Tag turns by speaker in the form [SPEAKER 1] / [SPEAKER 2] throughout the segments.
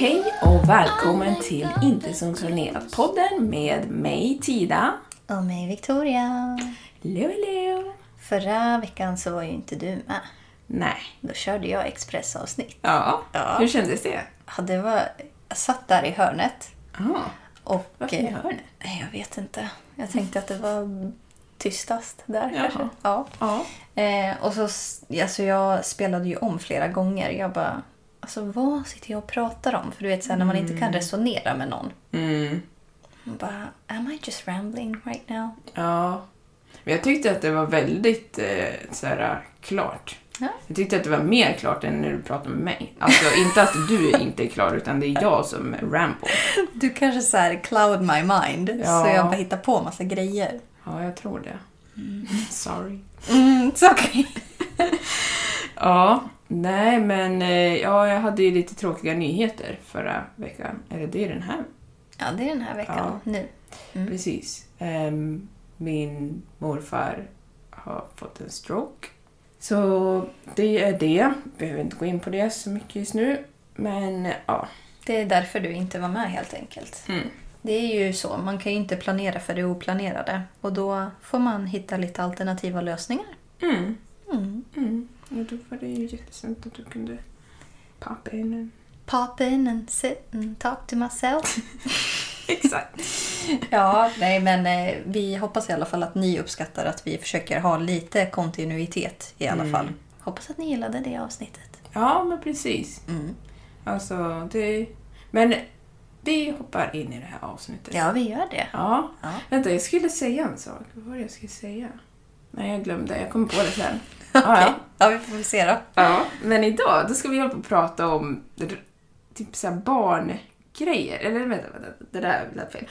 [SPEAKER 1] Hej och välkommen till Inte som planerat-podden med mig Tida.
[SPEAKER 2] Och mig Victoria.
[SPEAKER 1] Hallå, hallå.
[SPEAKER 2] Förra veckan så var ju inte du med.
[SPEAKER 1] Nej.
[SPEAKER 2] Då körde jag expressavsnitt.
[SPEAKER 1] Ja.
[SPEAKER 2] Ja.
[SPEAKER 1] Hur kändes det?
[SPEAKER 2] Ja, det var, jag satt där i hörnet
[SPEAKER 1] Ah.
[SPEAKER 2] och...
[SPEAKER 1] Varför i hörnet?
[SPEAKER 2] Nej, Jag vet inte. Jag tänkte att det var tystast där
[SPEAKER 1] Jaha.
[SPEAKER 2] kanske. Ja.
[SPEAKER 1] Ja.
[SPEAKER 2] Eh, och så, s- alltså jag spelade ju om flera gånger. Jag bara, alltså vad sitter jag och pratar om? För du vet så här, när man inte kan resonera med någon.
[SPEAKER 1] Mm.
[SPEAKER 2] Man bara, am I just rambling right now?
[SPEAKER 1] Ja. Men jag tyckte att det var väldigt eh, så här, klart.
[SPEAKER 2] Ja.
[SPEAKER 1] Jag tyckte att det var mer klart än när du pratade med mig. Alltså inte att du inte är klar, utan det är jag som rampo.
[SPEAKER 2] Du kanske så här cloud my mind.
[SPEAKER 1] Ja.
[SPEAKER 2] Så jag bara hittar på massa grejer.
[SPEAKER 1] Ja, jag tror det. Sorry.
[SPEAKER 2] Mm, it's okay.
[SPEAKER 1] Ja, nej men eh, ja, jag hade ju lite tråkiga nyheter förra veckan. Eller det är den här.
[SPEAKER 2] Ja, det är den här veckan nu.
[SPEAKER 1] Precis. Ehm, min morfar har fått en stroke. Så det är det. Behöver inte gå in på det så mycket just nu. Men eh, ja.
[SPEAKER 2] Det är därför du inte var med helt enkelt.
[SPEAKER 1] Mm.
[SPEAKER 2] Det är ju så, man kan ju inte planera för det oplanerade. Och då får man hitta lite alternativa lösningar.
[SPEAKER 1] Mm.
[SPEAKER 2] Mm.
[SPEAKER 1] Mm. Och då var det ju jättesnällt att du kunde pappa in en.
[SPEAKER 2] Pop in and sit and talk to myself.
[SPEAKER 1] Exakt.
[SPEAKER 2] ja, nej men eh, vi hoppas i alla fall att ni uppskattar att vi försöker ha lite kontinuitet i alla
[SPEAKER 1] Mm.
[SPEAKER 2] fall. Hoppas att ni gillade det avsnittet.
[SPEAKER 1] Ja, men precis.
[SPEAKER 2] Mm.
[SPEAKER 1] Alltså, det... Men vi hoppar in i det här avsnittet.
[SPEAKER 2] Ja, vi gör det.
[SPEAKER 1] Ja.
[SPEAKER 2] Ja.
[SPEAKER 1] Vänta, jag skulle säga en sak. Vad var det jag skulle säga? Nej, jag glömde. Jag kommer på det sen. ja, ja.
[SPEAKER 2] ja vi får väl se då.
[SPEAKER 1] ja. Men idag, då ska vi hålla på och prata om r- typ så här barngrejer. Eller vänta, vänta. Det där lät fel.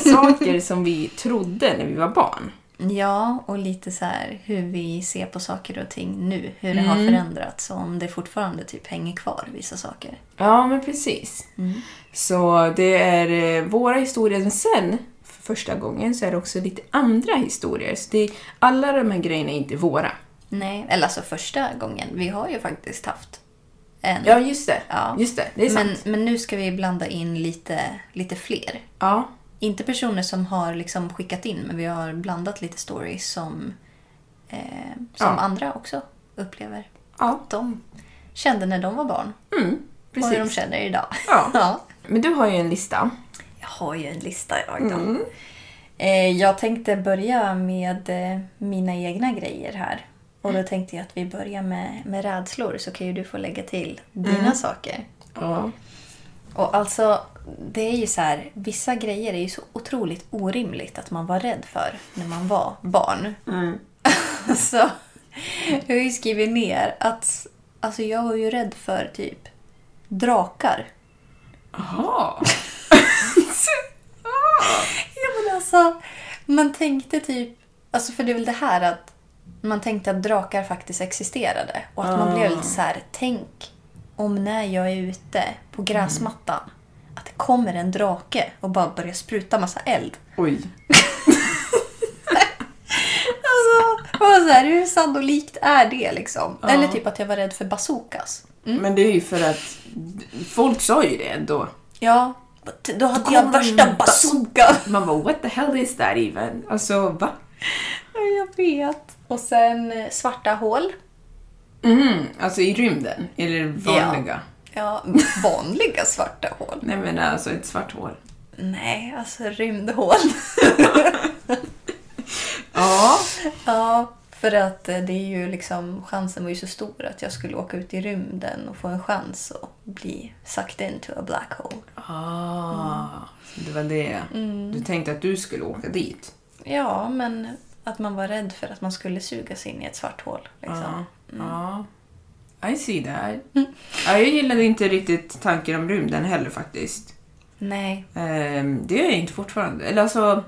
[SPEAKER 1] Saker som vi trodde när vi var barn.
[SPEAKER 2] Ja, och lite så här hur vi ser på saker och ting nu. Hur det har
[SPEAKER 1] Mm.
[SPEAKER 2] förändrats och om det fortfarande typ hänger kvar vissa saker.
[SPEAKER 1] Ja, men precis. Så det är eh, våra historier. Men sen, för första gången, så är det också lite andra historier. Så det är, alla de här grejerna är inte våra.
[SPEAKER 2] Nej, eller alltså första gången. Vi har ju faktiskt haft en.
[SPEAKER 1] Ja, just det.
[SPEAKER 2] Ja.
[SPEAKER 1] Just det, det är sant.
[SPEAKER 2] men, men nu ska vi blanda in lite, lite fler.
[SPEAKER 1] Ja,
[SPEAKER 2] Inte personer som har liksom skickat in, men vi har blandat lite stories som, eh,
[SPEAKER 1] Ja.
[SPEAKER 2] som andra också upplever.
[SPEAKER 1] ja.
[SPEAKER 2] De kände när de var barn
[SPEAKER 1] Mm,
[SPEAKER 2] och hur de
[SPEAKER 1] precis.
[SPEAKER 2] känner idag.
[SPEAKER 1] Ja.
[SPEAKER 2] ja.
[SPEAKER 1] Men du har ju en lista.
[SPEAKER 2] Jag har ju en lista jag då. Eh, jag tänkte börja med eh, mina egna grejer här. Och då tänkte jag att vi börjar med, med rädslor så kan ju du få lägga till dina saker.
[SPEAKER 1] Ja.
[SPEAKER 2] Och alltså, det är ju så här, vissa grejer är ju så otroligt orimligt att man var rädd för när man var barn. så jag har ju skrivit ner att alltså jag var ju rädd för typ drakar.
[SPEAKER 1] Jaha.
[SPEAKER 2] Ja men alltså, man tänkte typ... Alltså för det är väl det här att man tänkte att drakar faktiskt existerade. Och att man blev lite så här, tänk om när jag är ute på gräsmattan att det kommer en drake och bara börjar spruta massa eld.
[SPEAKER 1] Oj.
[SPEAKER 2] Alltså, jag var så här, hur sannolikt är det liksom? Eller typ att jag var rädd för bazookas.
[SPEAKER 1] Men det är ju för att folk sa ju det då.
[SPEAKER 2] Ja, då hade jag
[SPEAKER 1] kommer
[SPEAKER 2] värsta
[SPEAKER 1] en
[SPEAKER 2] bazookan.
[SPEAKER 1] Man bara what the hell is that even? Alltså va?
[SPEAKER 2] Ja, jag vet. Och sen eh, svarta hål.
[SPEAKER 1] Mm, alltså i rymden? Eller vanliga?
[SPEAKER 2] Ja, vanliga svarta hål.
[SPEAKER 1] Nej men alltså ett svart hål.
[SPEAKER 2] Nej, alltså rymdhål.
[SPEAKER 1] Ja.
[SPEAKER 2] ja, för att eh, det är ju liksom, chansen var ju så stor att jag skulle åka ut i rymden och få en chans att bli sucked into a black hole.
[SPEAKER 1] Ah, så det var det. Du tänkte att du skulle åka dit.
[SPEAKER 2] Ja, men att man var rädd för att man skulle sugas in i ett svart hål. Liksom.
[SPEAKER 1] Ja. I see that. Ja, jag gillade inte riktigt tanken om rymden heller faktiskt.
[SPEAKER 2] Nej.
[SPEAKER 1] Ehm, det gör jag inte fortfarande. Eller alltså...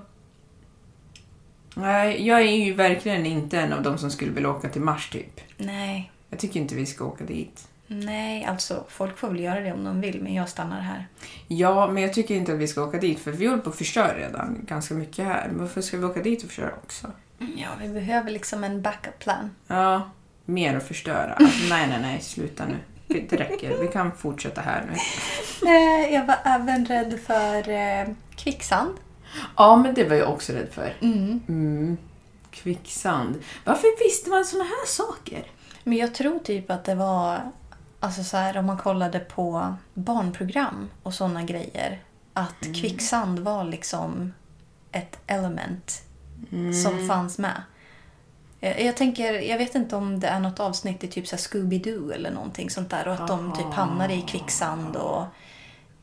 [SPEAKER 1] Nej, jag är ju verkligen inte en av dem som skulle vilja åka till Mars typ.
[SPEAKER 2] Nej.
[SPEAKER 1] Jag tycker inte vi ska åka dit.
[SPEAKER 2] Nej, alltså folk får väl göra det om de vill, men jag stannar här.
[SPEAKER 1] Ja, men jag tycker inte att vi ska åka dit för vi håller på att förstöra redan ganska mycket här. Varför ska vi åka dit och förstöra också?
[SPEAKER 2] Ja, vi behöver liksom en backup plan.
[SPEAKER 1] Ja, mer att förstöra. Alltså, nej, nej, nej, sluta nu. Det räcker. Vi kan fortsätta här nu.
[SPEAKER 2] Eh, jag var även rädd för eh, kvicksand.
[SPEAKER 1] Ja, men det var jag också rädd för. Mm. Kvicksand. Varför visste man såna här saker?
[SPEAKER 2] Men jag tror typ att det var, alltså så här om man kollade på barnprogram och sådana grejer, att kvicksand var liksom ett element som fanns med. Jag, jag tänker, jag vet inte om det är något avsnitt i typ så här Scooby-Doo eller någonting sånt där och att de typ hamnar i kvicksand och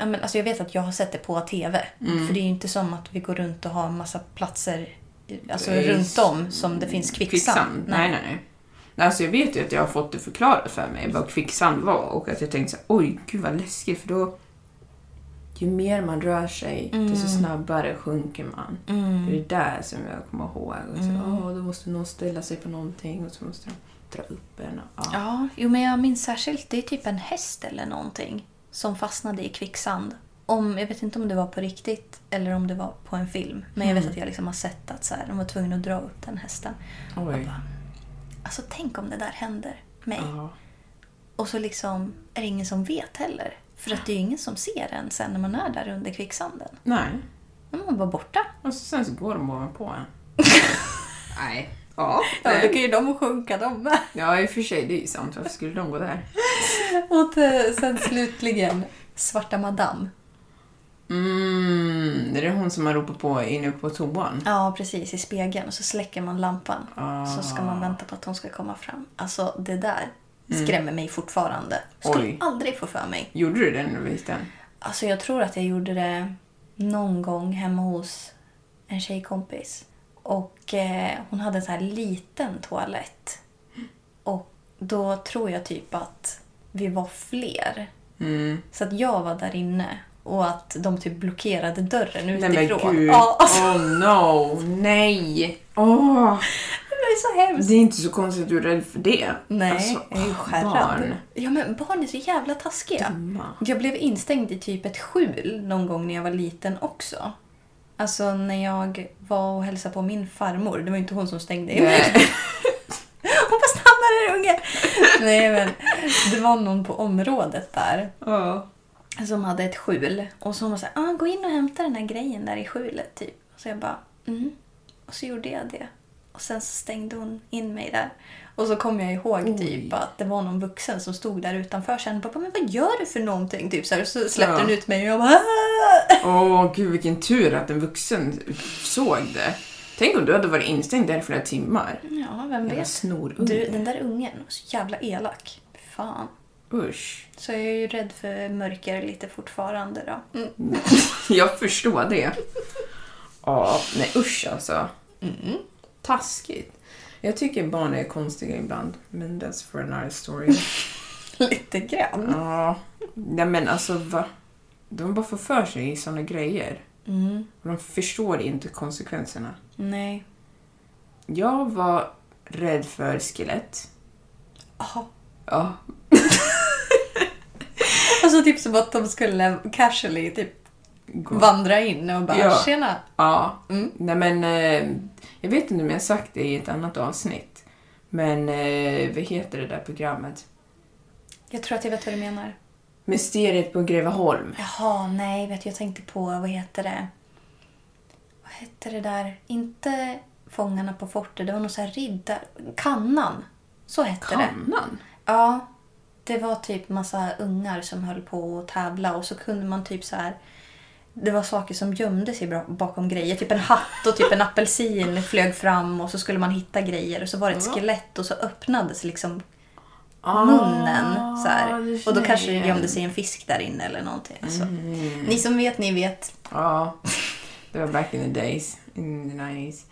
[SPEAKER 2] Ja, men alltså jag vet att jag har sett det på TV. För det är ju inte som att vi går runt och har en massa platser i- alltså,
[SPEAKER 1] Det är
[SPEAKER 2] runt om som det finns kvicksand.
[SPEAKER 1] Mm. Nej, nej, nej. Nej, Alltså jag vet ju att jag har fått det förklarat för mig vad kvicksand var och att jag tänkte så här, oj gud vad läskigt för då ju mer man rör sig desto
[SPEAKER 2] Mm.
[SPEAKER 1] snabbare sjunker man. Det är det där som jag kommer ihåg. Och
[SPEAKER 2] Mm.
[SPEAKER 1] så, åh, då måste någon ställa sig på någonting och så måste de dra upp en. Och, ja.
[SPEAKER 2] Ja, jo, men jag minns särskilt, det är typ en häst eller någonting som fastnade i kvicksand. Om, jag vet inte om det var på riktigt eller om det var på en film. Men jag vet att jag liksom har sett att så här, de var tvungna att dra upp den hästen.
[SPEAKER 1] Oj.
[SPEAKER 2] Alltså tänk om det där händer mig.
[SPEAKER 1] Ja.
[SPEAKER 2] Och så liksom är det ingen som vet heller. För att det är ju ingen som ser en sen när man är där under kvicksanden.
[SPEAKER 1] Nej.
[SPEAKER 2] Men man var borta.
[SPEAKER 1] Och så, sen så går de ovanpå en. nej. Ja,
[SPEAKER 2] Ja, då
[SPEAKER 1] nej.
[SPEAKER 2] kan ju de sjunka de med.
[SPEAKER 1] ja, i och för sig det är ju sant. Varför skulle de gå där?
[SPEAKER 2] Och till, sen slutligen, Svarta Madame.
[SPEAKER 1] Mm, det är hon som har ropat på inne på toan.
[SPEAKER 2] Ja, precis. I spegeln. Och så släcker man lampan.
[SPEAKER 1] Ah. Mm.
[SPEAKER 2] Så ska man vänta på att hon ska komma fram. Alltså, det där skrämmer mig fortfarande. Skulle
[SPEAKER 1] Oj.
[SPEAKER 2] aldrig få för mig.
[SPEAKER 1] Gjorde du det när du visste den?
[SPEAKER 2] Alltså, jag tror att jag gjorde det någon gång hemma hos en tjejkompis. Och eh, hon hade en sån här liten toalett. Och då tror jag typ att vi var fler.
[SPEAKER 1] Mm.
[SPEAKER 2] Så att jag var där inne och att de typ blockerade dörren
[SPEAKER 1] Nej
[SPEAKER 2] utifrån.
[SPEAKER 1] men gud.
[SPEAKER 2] Ja, alltså,
[SPEAKER 1] Oh no, nej. Åh,
[SPEAKER 2] det var ju så hemskt.
[SPEAKER 1] det är inte så konstigt att du är rädd för det.
[SPEAKER 2] Nej, jag är ju
[SPEAKER 1] åh,
[SPEAKER 2] skärrad.
[SPEAKER 1] Alltså, barn. Mm.
[SPEAKER 2] Ja, men barn är så jävla taskiga.
[SPEAKER 1] Dumma.
[SPEAKER 2] Jag blev instängd i typ ett skjul någon gång när jag var liten också. Alltså när jag var och hälsade på min farmor. Det var ju inte hon som stängde in mig.
[SPEAKER 1] Nej.
[SPEAKER 2] Hon bara stanna där unge! Nej men, det var någon på området där
[SPEAKER 1] Ja.
[SPEAKER 2] som hade ett skjul. Och så hon var såhär, ah, gå in och hämta den här grejen där i skjulet typ. Och så jag bara, mm. Och så gjorde jag det. Och sen så stängde hon in mig där. Och så kom jag ihåg typ att det var någon vuxen som stod där utanför sen och bara, men vad gör du för någonting? Typ så, här, så släppte
[SPEAKER 1] Ja.
[SPEAKER 2] hon ut mig och jag bara, "Ah!"
[SPEAKER 1] Åh gud vilken tur att en vuxen såg det. Tänk om du hade varit instängd där i flera timmar.
[SPEAKER 2] Ja, vem
[SPEAKER 1] Jävla
[SPEAKER 2] vet? Du, den
[SPEAKER 1] snorunge.
[SPEAKER 2] där ungen var så jävla elak. Fan.
[SPEAKER 1] Usch.
[SPEAKER 2] Så jag är ju rädd för mörker lite fortfarande då. Mm.
[SPEAKER 1] Jag förstår det. Ja, nej usch alltså.
[SPEAKER 2] Mm.
[SPEAKER 1] Taskigt. Jag tycker barn är konstiga ibland, men that's for another story.
[SPEAKER 2] Lite grann.
[SPEAKER 1] Ja, nej men alltså va? De bara får för sig i såna grejer.
[SPEAKER 2] Mm.
[SPEAKER 1] Och de förstår inte konsekvenserna.
[SPEAKER 2] Nej.
[SPEAKER 1] Jag var rädd för skelett.
[SPEAKER 2] Jaha.
[SPEAKER 1] Ja,
[SPEAKER 2] Alltså typ som att de skulle casually typ
[SPEAKER 1] gå-
[SPEAKER 2] vandra in och bara
[SPEAKER 1] Ja.
[SPEAKER 2] “tjena”.
[SPEAKER 1] Ja,
[SPEAKER 2] Mm.
[SPEAKER 1] nej men eh, jag vet inte om jag har sagt det i ett annat avsnitt. Men eh, vad heter det där programmet?
[SPEAKER 2] Jag tror att jag vet vad du menar.
[SPEAKER 1] Mysteriet på Greveholm.
[SPEAKER 2] Jaha, nej, vet du, jag tänkte på, vad heter det? Vad hette det där? Inte Fångarna på fortet, det var någon sån här riddar... Kannan! Så hette det.
[SPEAKER 1] Kannan?
[SPEAKER 2] Ja. Det var typ massa ungar som höll på att tävla och så kunde man typ så här... Det var saker som gömde sig bra- bakom grejer. Typ en hatt och typ en apelsin flög fram och så skulle man hitta grejer. Och så var det ett skelett och så öppnades liksom munnen. Så
[SPEAKER 1] Ah,
[SPEAKER 2] här.
[SPEAKER 1] du
[SPEAKER 2] Och då
[SPEAKER 1] känner
[SPEAKER 2] kanske det
[SPEAKER 1] igen.
[SPEAKER 2] gömde sig en fisk där inne eller någonting. Så. Ni som vet, ni vet.
[SPEAKER 1] Ja, det var back in the days, in the 90s.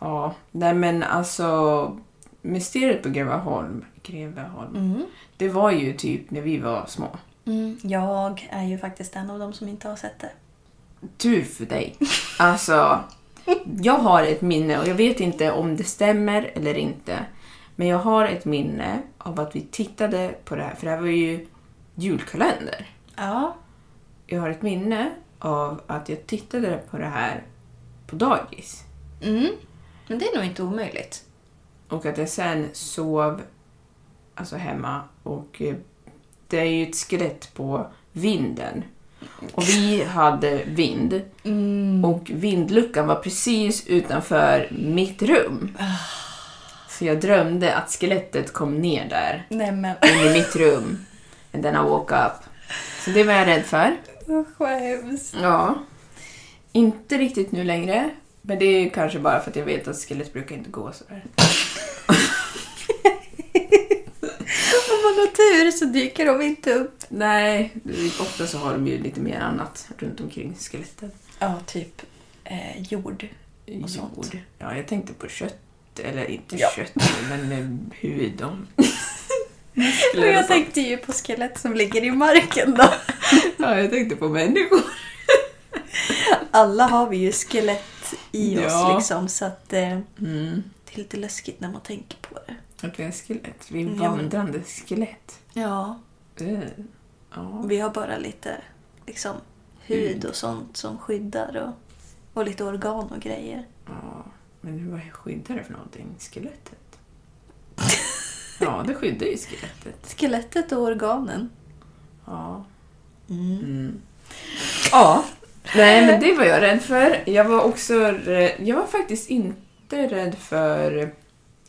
[SPEAKER 1] Ja, nej men alltså mysteriet på Greveholm, Greveholm det var ju typ när vi var små.
[SPEAKER 2] Mm, jag är ju faktiskt en av dem som inte har sett det.
[SPEAKER 1] Tur för dig. Alltså, jag har ett minne och jag vet inte om det stämmer eller inte. Men jag har ett minne av att vi tittade på det här, för det här var ju julkalender.
[SPEAKER 2] Ja.
[SPEAKER 1] Jag har ett minne av att jag tittade på det här på dagis.
[SPEAKER 2] Mm. Men det är nog inte omöjligt.
[SPEAKER 1] Och att jag sen sov alltså hemma och eh, det är ju ett skelett på vinden. Och vi hade vind och vindluckan var precis utanför mitt rum. Så jag drömde att skelettet kom ner där,
[SPEAKER 2] Nej men.
[SPEAKER 1] in i mitt rum. And then I woke up. Så det var jag rädd för.
[SPEAKER 2] Skäms.
[SPEAKER 1] Ja. Inte riktigt nu längre. Men det är kanske bara för att jag vet att skelett brukar inte gå sådär.
[SPEAKER 2] Om man har tur så dyker de inte upp.
[SPEAKER 1] Nej, ofta så har de ju lite mer annat runt omkring skelettet.
[SPEAKER 2] Ja, typ eh, jord. Och sånt.
[SPEAKER 1] Jord. Ja, jag tänkte på kött. Eller inte
[SPEAKER 2] Ja.
[SPEAKER 1] kött, men eh, hud. om-
[SPEAKER 2] Och jag tänkte ju på skelett som ligger i marken då.
[SPEAKER 1] ja, jag tänkte på människor.
[SPEAKER 2] Alla har vi ju skelett i
[SPEAKER 1] Ja.
[SPEAKER 2] oss liksom så att eh,
[SPEAKER 1] Mm.
[SPEAKER 2] det är lite läskigt när man tänker på det.
[SPEAKER 1] Att vi är skelett. Vi är
[SPEAKER 2] Ja.
[SPEAKER 1] vandrande skelett.
[SPEAKER 2] Ja,
[SPEAKER 1] Eh, Ja.
[SPEAKER 2] vi har bara lite liksom hud och sånt som skyddar och, och lite organ och grejer.
[SPEAKER 1] ja. Men vad skyddar det för någonting? Skelettet? Ja, det skyddar ju skelettet.
[SPEAKER 2] Skelettet och organen.
[SPEAKER 1] Ja. Mm. Ja. Nej, men det var jag rädd för. Jag var också rädd, Jag var faktiskt inte rädd för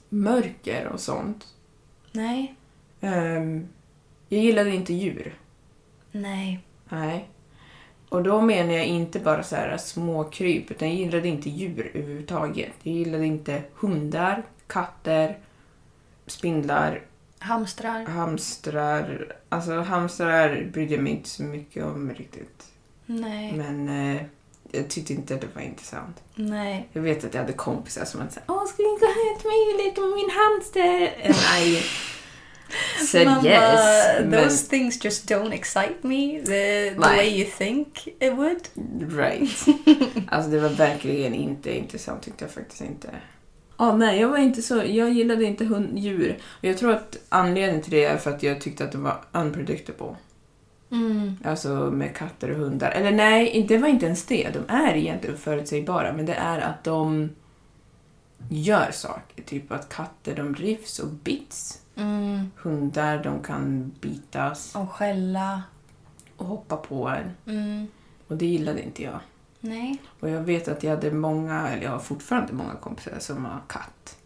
[SPEAKER 1] mörker och sånt.
[SPEAKER 2] Nej,
[SPEAKER 1] Ehm, jag gillade inte djur.
[SPEAKER 2] nej.
[SPEAKER 1] Nej. Och då menar jag inte bara så här små kryp, utan jag gillade inte djur överhuvudtaget. Jag gillade inte hundar, katter, spindlar,
[SPEAKER 2] Hamstrar.
[SPEAKER 1] hamstrar. Alltså hamstrar brydde jag mig inte så mycket om riktigt.
[SPEAKER 2] Nej,
[SPEAKER 1] Men eh, jag tyckte inte att det var intressant.
[SPEAKER 2] nej.
[SPEAKER 1] Jag vet att jag hade kompisar som hade sagt Åh, ska ni gå hem till mig lite med min hamster? And I said
[SPEAKER 2] Mamma,
[SPEAKER 1] yes. Men,
[SPEAKER 2] those things just don't excite me the,
[SPEAKER 1] Nej.
[SPEAKER 2] the way you think it would.
[SPEAKER 1] right. Alltså det var verkligen inte intressant tyckte jag faktiskt inte. Ja, nej, jag var inte så... Jag gillade inte hund, djur. Och jag tror att anledningen till det är för att jag tyckte att de var unpredictable.
[SPEAKER 2] Mm.
[SPEAKER 1] Alltså med katter och hundar. Eller nej, det var inte ens det. De är egentligen förutsägbara, men det är att de gör saker. Typ att katter de rivs och bits.
[SPEAKER 2] Mm.
[SPEAKER 1] Hundar de kan bitas
[SPEAKER 2] Och skälla.
[SPEAKER 1] och hoppa på en.
[SPEAKER 2] Mm.
[SPEAKER 1] Och det gillade inte jag.
[SPEAKER 2] Nej.
[SPEAKER 1] Och jag vet att jag hade många, eller jag har fortfarande många kompisar som har katt.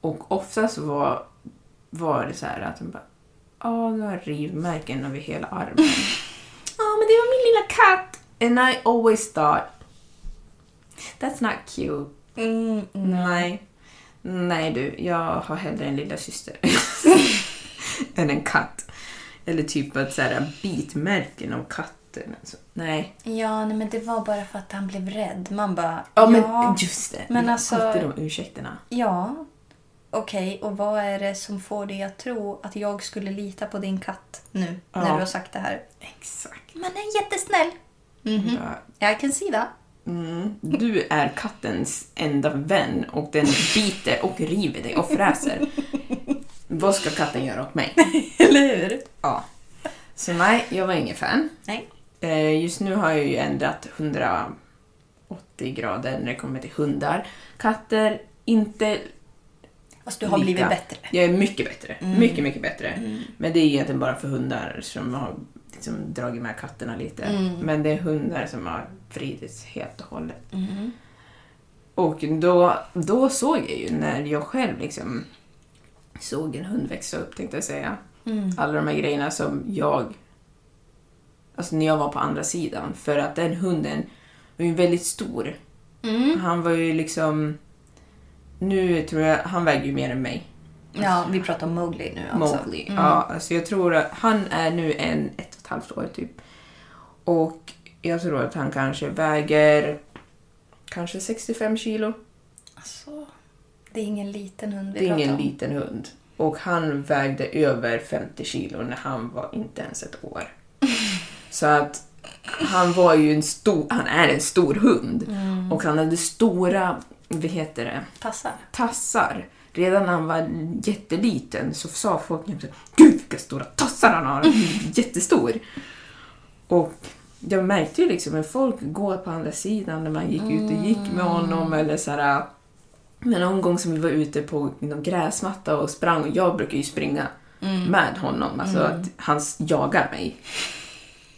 [SPEAKER 1] Och ofta så var, var det så här att de bara Ja, nu har jag rivmärken över hela armen. Ja, men det var min lilla katt! And I always thought That's not cute.
[SPEAKER 2] Mm.
[SPEAKER 1] Nej. Nej du, jag har hellre en lilla syster. än en katt. Eller typ att så här, bitmärken av katten. Alltså, nej.
[SPEAKER 2] Ja, nej, men det var bara för att han blev rädd. Man bara,
[SPEAKER 1] Ja,
[SPEAKER 2] ja,
[SPEAKER 1] men just det.
[SPEAKER 2] men
[SPEAKER 1] Det är
[SPEAKER 2] alltså-
[SPEAKER 1] Alltid de ursäkterna.
[SPEAKER 2] ja, okej, och vad är det som får dig att tro att jag skulle lita på din katt nu
[SPEAKER 1] Ja.
[SPEAKER 2] när du har sagt det här?
[SPEAKER 1] Exakt.
[SPEAKER 2] Man är jättesnäll. Mhm.
[SPEAKER 1] Bara,
[SPEAKER 2] Jag kan se det.
[SPEAKER 1] Mm. Du är kattens enda vän och den biter och river dig och fräser. Vad ska katten göra åt mig?
[SPEAKER 2] Eller hur?
[SPEAKER 1] Ja. Så nej, jag var ingen fan.
[SPEAKER 2] Nej.
[SPEAKER 1] Eh, Just nu har jag ju ändrat 180 grader när det kommer till hundar. Katter, inte
[SPEAKER 2] Fast du har
[SPEAKER 1] lika.
[SPEAKER 2] blivit bättre. Mm.
[SPEAKER 1] Jag är mycket bättre. Mycket, mycket bättre. Men det är egentligen bara för hundar som har liksom dragit med katterna lite.
[SPEAKER 2] Mm.
[SPEAKER 1] Men det är hundar som har vridits helt och hållet.
[SPEAKER 2] Mm.
[SPEAKER 1] Och då, då såg jag ju när jag själv liksom såg en hund växa upp, tänkte jag säga.
[SPEAKER 2] Mm.
[SPEAKER 1] Alla de här grejerna som jag... Alltså när jag var på andra sidan. För att den hunden var ju väldigt stor.
[SPEAKER 2] Mm.
[SPEAKER 1] Han var ju liksom... Nu tror jag... Han väger ju mer än mig.
[SPEAKER 2] Ja, vi pratar om Mowgli nu också.
[SPEAKER 1] Mowgli. Ja,
[SPEAKER 2] Mm.
[SPEAKER 1] alltså jag tror att han är nu en ett och ett halvt år typ. Och jag tror att han kanske väger kanske 65 kilo.
[SPEAKER 2] Alltså, det är ingen liten hund vi
[SPEAKER 1] Det är
[SPEAKER 2] pratar
[SPEAKER 1] ingen
[SPEAKER 2] om.
[SPEAKER 1] liten hund. Och han vägde över 50 kilo när han var inte ens ett år. Så att han var ju en stor, han är en stor hund.
[SPEAKER 2] Mm.
[SPEAKER 1] Och han hade stora, vad heter det,
[SPEAKER 2] Passar.
[SPEAKER 1] tassar. Redan när han var jätteliten så sa folk jämt så här, Gud vilka stora tassar han har! Han är jättestor! Och jag märkte ju liksom när folk går på andra sidan när man gick ut och gick med honom eller så här. Men någon gång som vi var ute på någon gräsmatta och sprang och jag brukar ju springa
[SPEAKER 2] Mm.
[SPEAKER 1] med honom, alltså att han jagar mig.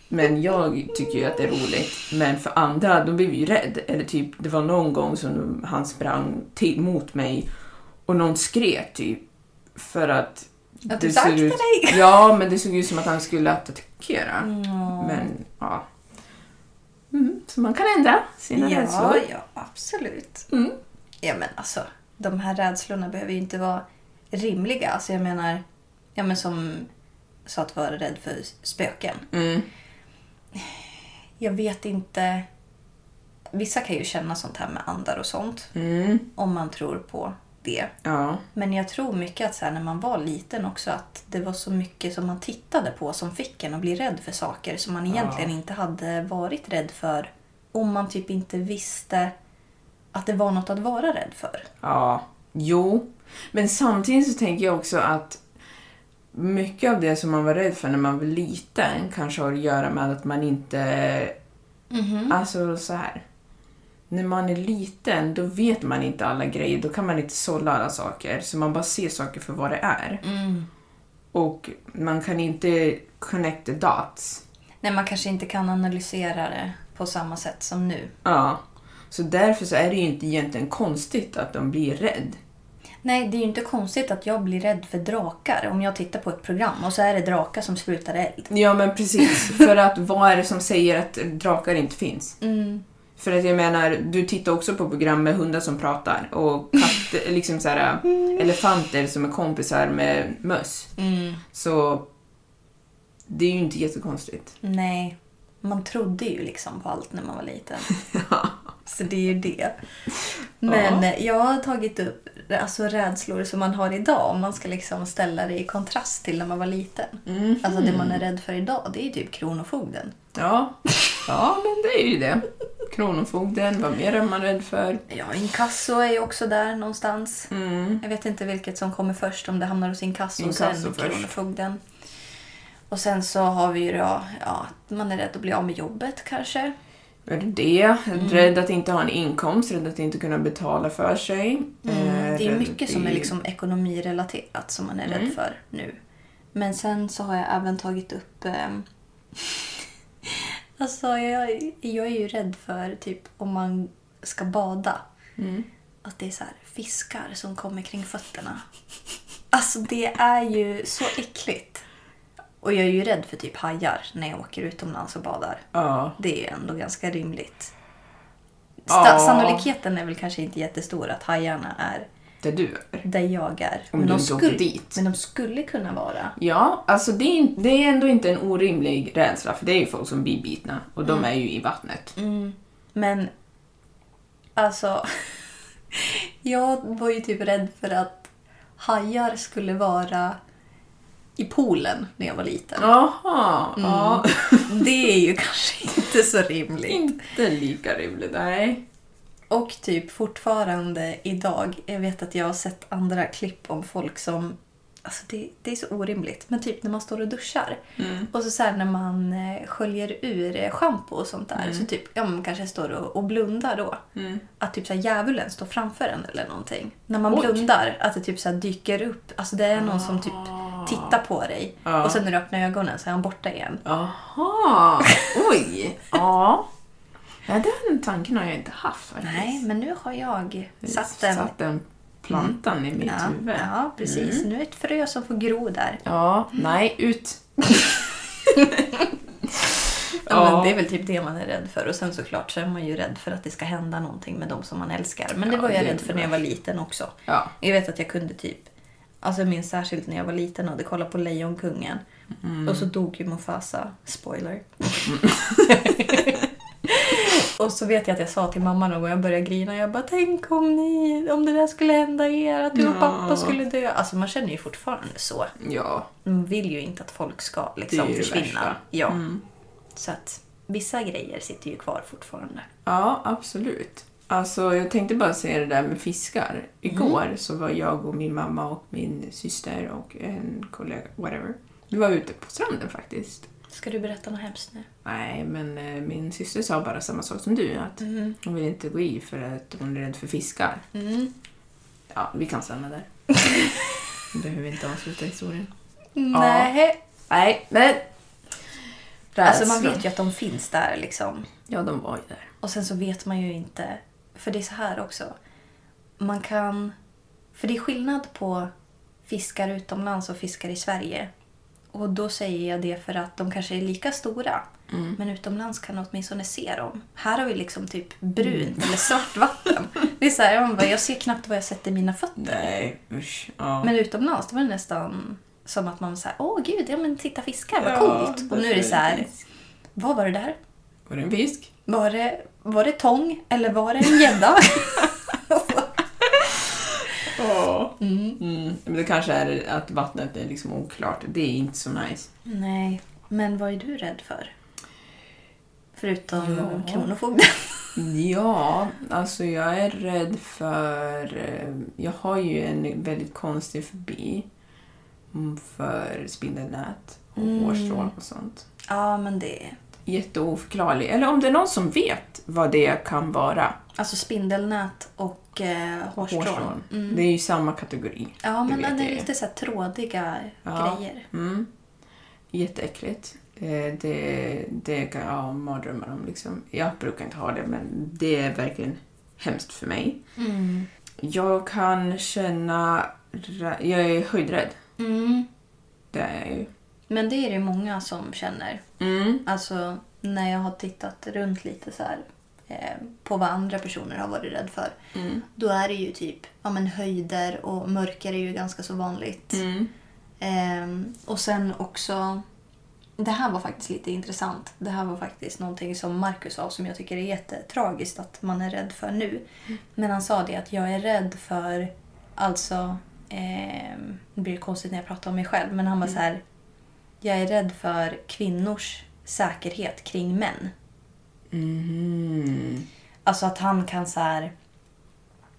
[SPEAKER 1] Men jag tycker ju att det är roligt. Men för andra, de blev ju rädd. Eller typ, det var någon gång som de- han sprang till, mot mig och någon skrek typ för att...
[SPEAKER 2] Att du sakta
[SPEAKER 1] ut,
[SPEAKER 2] dig.
[SPEAKER 1] Ja, men det såg ut som att han skulle attackera. Men ja. Mm, så man kan ändra sina
[SPEAKER 2] Ja,
[SPEAKER 1] rädslor.
[SPEAKER 2] ja, absolut.
[SPEAKER 1] Mm.
[SPEAKER 2] Ja, men alltså, de här rädslorna behöver ju inte vara rimliga. Alltså, jag menar, ja, men som sa att vara rädd för spöken.
[SPEAKER 1] Mm.
[SPEAKER 2] Jag vet inte. Vissa kan ju känna sånt här med andar och sånt.
[SPEAKER 1] Mm.
[SPEAKER 2] Om man tror på det.
[SPEAKER 1] Ja.
[SPEAKER 2] Men jag tror mycket att så här, när man var liten också att det var så mycket som man tittade på som fick en att bli rädd för saker som man egentligen inte hade varit rädd för om man typ inte visste att det var något att vara rädd för.
[SPEAKER 1] Ja, jo. Men samtidigt så tänker jag också att mycket av det som man var rädd för när man var liten kanske har att göra med att man inte... Alltså så här. När man är liten då vet man inte alla grejer, då kan man inte sålla alla saker. Så man bara ser saker för vad det är. Och man kan inte connect the dots.
[SPEAKER 2] Nej, man kanske inte kan analysera det på samma sätt som nu.
[SPEAKER 1] Ja. Så därför så är det ju inte egentligen konstigt att de blir rädd.
[SPEAKER 2] Nej, det är ju inte konstigt att jag blir rädd för drakar om jag tittar på ett program och så är det drakar som slutar eld.
[SPEAKER 1] Ja men precis, för att vad är det som säger att drakar inte finns?
[SPEAKER 2] Mm.
[SPEAKER 1] För att jag menar, du tittar också på program med hundar som pratar och katt, liksom så här, elefanter som är kompisar med möss.
[SPEAKER 2] Mm.
[SPEAKER 1] Så det är ju inte jättekonstigt.
[SPEAKER 2] Nej, man trodde ju liksom på allt när man var liten. Så det är ju det. Men eh, jag har tagit upp alltså, rädslor som man har idag om man ska liksom ställa det i kontrast till när man var liten. Alltså det
[SPEAKER 1] Mm.
[SPEAKER 2] man är rädd för idag, det är ju typ Kronofogden.
[SPEAKER 1] Ja, ja men det är ju det. Kronofogden, vad mer är man rädd för?
[SPEAKER 2] Ja, inkasso är ju också där någonstans. Jag vet inte vilket som kommer först, om det hamnar hos inkasso,
[SPEAKER 1] Mm. Inkasso
[SPEAKER 2] och sen
[SPEAKER 1] först.
[SPEAKER 2] Kronofogden. Och sen så har vi ju då, ja, att man är rädd att bli av med jobbet kanske.
[SPEAKER 1] Är det det?
[SPEAKER 2] Mm.
[SPEAKER 1] Rädd att inte ha en inkomst, rädd att inte kunna betala för sig. Eh,
[SPEAKER 2] Mm, Det är
[SPEAKER 1] rädd
[SPEAKER 2] mycket
[SPEAKER 1] att
[SPEAKER 2] som är
[SPEAKER 1] bli-
[SPEAKER 2] liksom ekonomirelaterat som man är rädd för nu. Men sen så har jag även tagit upp... ehm, alltså jag, jag är ju rädd för typ om man ska bada. Att det är så här fiskar som kommer kring fötterna. Alltså det är ju så äckligt. Och jag är ju rädd för typ hajar när jag åker utomlands och badar.
[SPEAKER 1] Ja.
[SPEAKER 2] Det är ju ändå ganska rimligt.
[SPEAKER 1] Ja.
[SPEAKER 2] Sta- Sannolikheten är väl kanske inte jättestor att hajarna är
[SPEAKER 1] Där du är.
[SPEAKER 2] där jag är.
[SPEAKER 1] Om du inte åker dit.
[SPEAKER 2] men de skulle kunna vara.
[SPEAKER 1] Ja, alltså det är, in- det är ändå inte en orimlig rädsla för det är ju folk som blir bitna och
[SPEAKER 2] Mm.
[SPEAKER 1] de är ju i vattnet.
[SPEAKER 2] Men alltså, jag var ju typ rädd för att hajar skulle vara i poolen när jag var liten.
[SPEAKER 1] Jaha, ja.
[SPEAKER 2] Mm. Det är ju kanske inte så rimligt.
[SPEAKER 1] inte lika rimligt. Nej.
[SPEAKER 2] Och typ fortfarande idag, jag vet att jag har sett andra klipp om folk som... Alltså det, det är så orimligt. Men typ när man står och duschar
[SPEAKER 1] Mm.
[SPEAKER 2] och så, så här när man eh, sköljer ur eh, schampo och sånt där
[SPEAKER 1] Mm.
[SPEAKER 2] så typ, ja man kanske står och, och blundar då. Att typ så här djävulen står framför en eller någonting. När man
[SPEAKER 1] Oj.
[SPEAKER 2] blundar, att det typ så här dyker upp. Alltså det är någon som typ tittar på dig
[SPEAKER 1] Ah. Ja.
[SPEAKER 2] och sen när du öppnar ögonen så är han borta igen.
[SPEAKER 1] Jaha, oj. Ja. ja. Den tanken har jag inte haft faktiskt.
[SPEAKER 2] Nej, men nu har jag satt
[SPEAKER 1] den,
[SPEAKER 2] en
[SPEAKER 1] satt den plantan i mitt
[SPEAKER 2] Ja,
[SPEAKER 1] huvud.
[SPEAKER 2] ja precis. Nu är det ett frö som får gro där.
[SPEAKER 1] Ja, nej, ut.
[SPEAKER 2] Ja.
[SPEAKER 1] Ja.
[SPEAKER 2] Men det är väl typ det man är rädd för. Och sen såklart så är man ju rädd för att det ska hända någonting med de som man älskar. Men det
[SPEAKER 1] Ja,
[SPEAKER 2] var jag
[SPEAKER 1] det är
[SPEAKER 2] rädd för när jag var liten också.
[SPEAKER 1] Ja.
[SPEAKER 2] Jag vet att jag kunde typ Alltså jag minns särskilt när jag var liten och hade kollat på Lejonkungen.
[SPEAKER 1] Mm.
[SPEAKER 2] Och så dog ju Mufasa. Spoiler. och så vet jag att jag sa till mamma någon gång, jag började grina, jag bara tänk om ni, om det där skulle hända er, att du och
[SPEAKER 1] Ja.
[SPEAKER 2] pappa skulle dö. Alltså man känner ju fortfarande så.
[SPEAKER 1] Ja.
[SPEAKER 2] Man vill ju inte att folk ska liksom
[SPEAKER 1] Det är ju det
[SPEAKER 2] försvinna.
[SPEAKER 1] värsta. Mm.
[SPEAKER 2] Ja. Så att vissa grejer sitter ju kvar fortfarande.
[SPEAKER 1] Ja, absolut. Alltså, jag tänkte bara säga det där med fiskar. Igår så var jag och min mamma och min syster och en kollega, whatever. Vi var ute på stranden faktiskt.
[SPEAKER 2] Ska du berätta något hemskt nu?
[SPEAKER 1] Nej, men eh, min syster sa bara samma sak som du, att hon vill inte gå i för att hon är rädd för fiskar. Mm. Ja, vi kan stanna där. Vi behöver inte avsluta historien.
[SPEAKER 2] Nej.
[SPEAKER 1] Nej, men...
[SPEAKER 2] Alltså
[SPEAKER 1] Äh,
[SPEAKER 2] man vet ju att de finns där liksom.
[SPEAKER 1] Ja, de var ju där.
[SPEAKER 2] Och sen så vet man ju inte. För det är så här också. Man kan... För det är skillnad på fiskar utomlands och fiskar i Sverige. Och då säger jag det för att de kanske är lika stora. Men utomlands kan man åtminstone se dem. Här har vi liksom typ brunt eller svart vatten. Det är så här, man bara, jag ser knappt vad jag sätter mina fötter.
[SPEAKER 1] Nej, usch. Ja.
[SPEAKER 2] Men utomlands det var det nästan som att man var så här, åh gud, ja men titta fiskar, vad
[SPEAKER 1] Ja,
[SPEAKER 2] coolt. Och nu är det
[SPEAKER 1] varför
[SPEAKER 2] så här,
[SPEAKER 1] inte?
[SPEAKER 2] vad var det där?
[SPEAKER 1] Var det en fisk?
[SPEAKER 2] Var det, var det tång eller var det en gädda?
[SPEAKER 1] Ja. Mm. Men det kanske är att vattnet är liksom oklart. Det är inte så nice.
[SPEAKER 2] Nej, men vad är du rädd för? Förutom
[SPEAKER 1] Ja.
[SPEAKER 2] kronofogden.
[SPEAKER 1] Ja, alltså jag är rädd för... eh, Jag har ju en väldigt konstig fobi mm, för spindelnät och hårstrån och sånt.
[SPEAKER 2] Ja, men det...
[SPEAKER 1] Jätteoförklarlig. Eller om det är någon som vet vad det kan vara,
[SPEAKER 2] Alltså spindelnät och eh, hårstrån.
[SPEAKER 1] hårstrån,
[SPEAKER 2] Mm.
[SPEAKER 1] det är ju samma kategori.
[SPEAKER 2] Ja, men
[SPEAKER 1] vet
[SPEAKER 2] det
[SPEAKER 1] jag
[SPEAKER 2] är
[SPEAKER 1] ju.
[SPEAKER 2] lite så här trådiga
[SPEAKER 1] Ja.
[SPEAKER 2] grejer.
[SPEAKER 1] Mm. Jätteäckligt. Eh, Det, det kan jag ha mardrömmar om. Liksom. Jag brukar inte ha det, men det är verkligen hemskt för mig.
[SPEAKER 2] Mm.
[SPEAKER 1] Jag kan känna... rä- Jag är höjdrädd.
[SPEAKER 2] Mm.
[SPEAKER 1] Det är jag ju.
[SPEAKER 2] Men det är det ju många som känner.
[SPEAKER 1] Mm.
[SPEAKER 2] Alltså när jag har tittat runt lite så här eh, på vad andra personer har varit rädd för. Då är det ju typ ja, men höjder och mörker är ju ganska så vanligt.
[SPEAKER 1] Mm.
[SPEAKER 2] Ehm, och sen också, det här var faktiskt lite intressant. Det här var faktiskt någonting som Marcus sa som jag tycker är jättetragiskt att man är rädd för nu. Men han sa det att jag är rädd för, alltså, ehm, det blir konstigt när jag pratar om mig själv, men han var så här, jag är rädd för kvinnors säkerhet kring män.
[SPEAKER 1] Mm.
[SPEAKER 2] Alltså att han kan så här...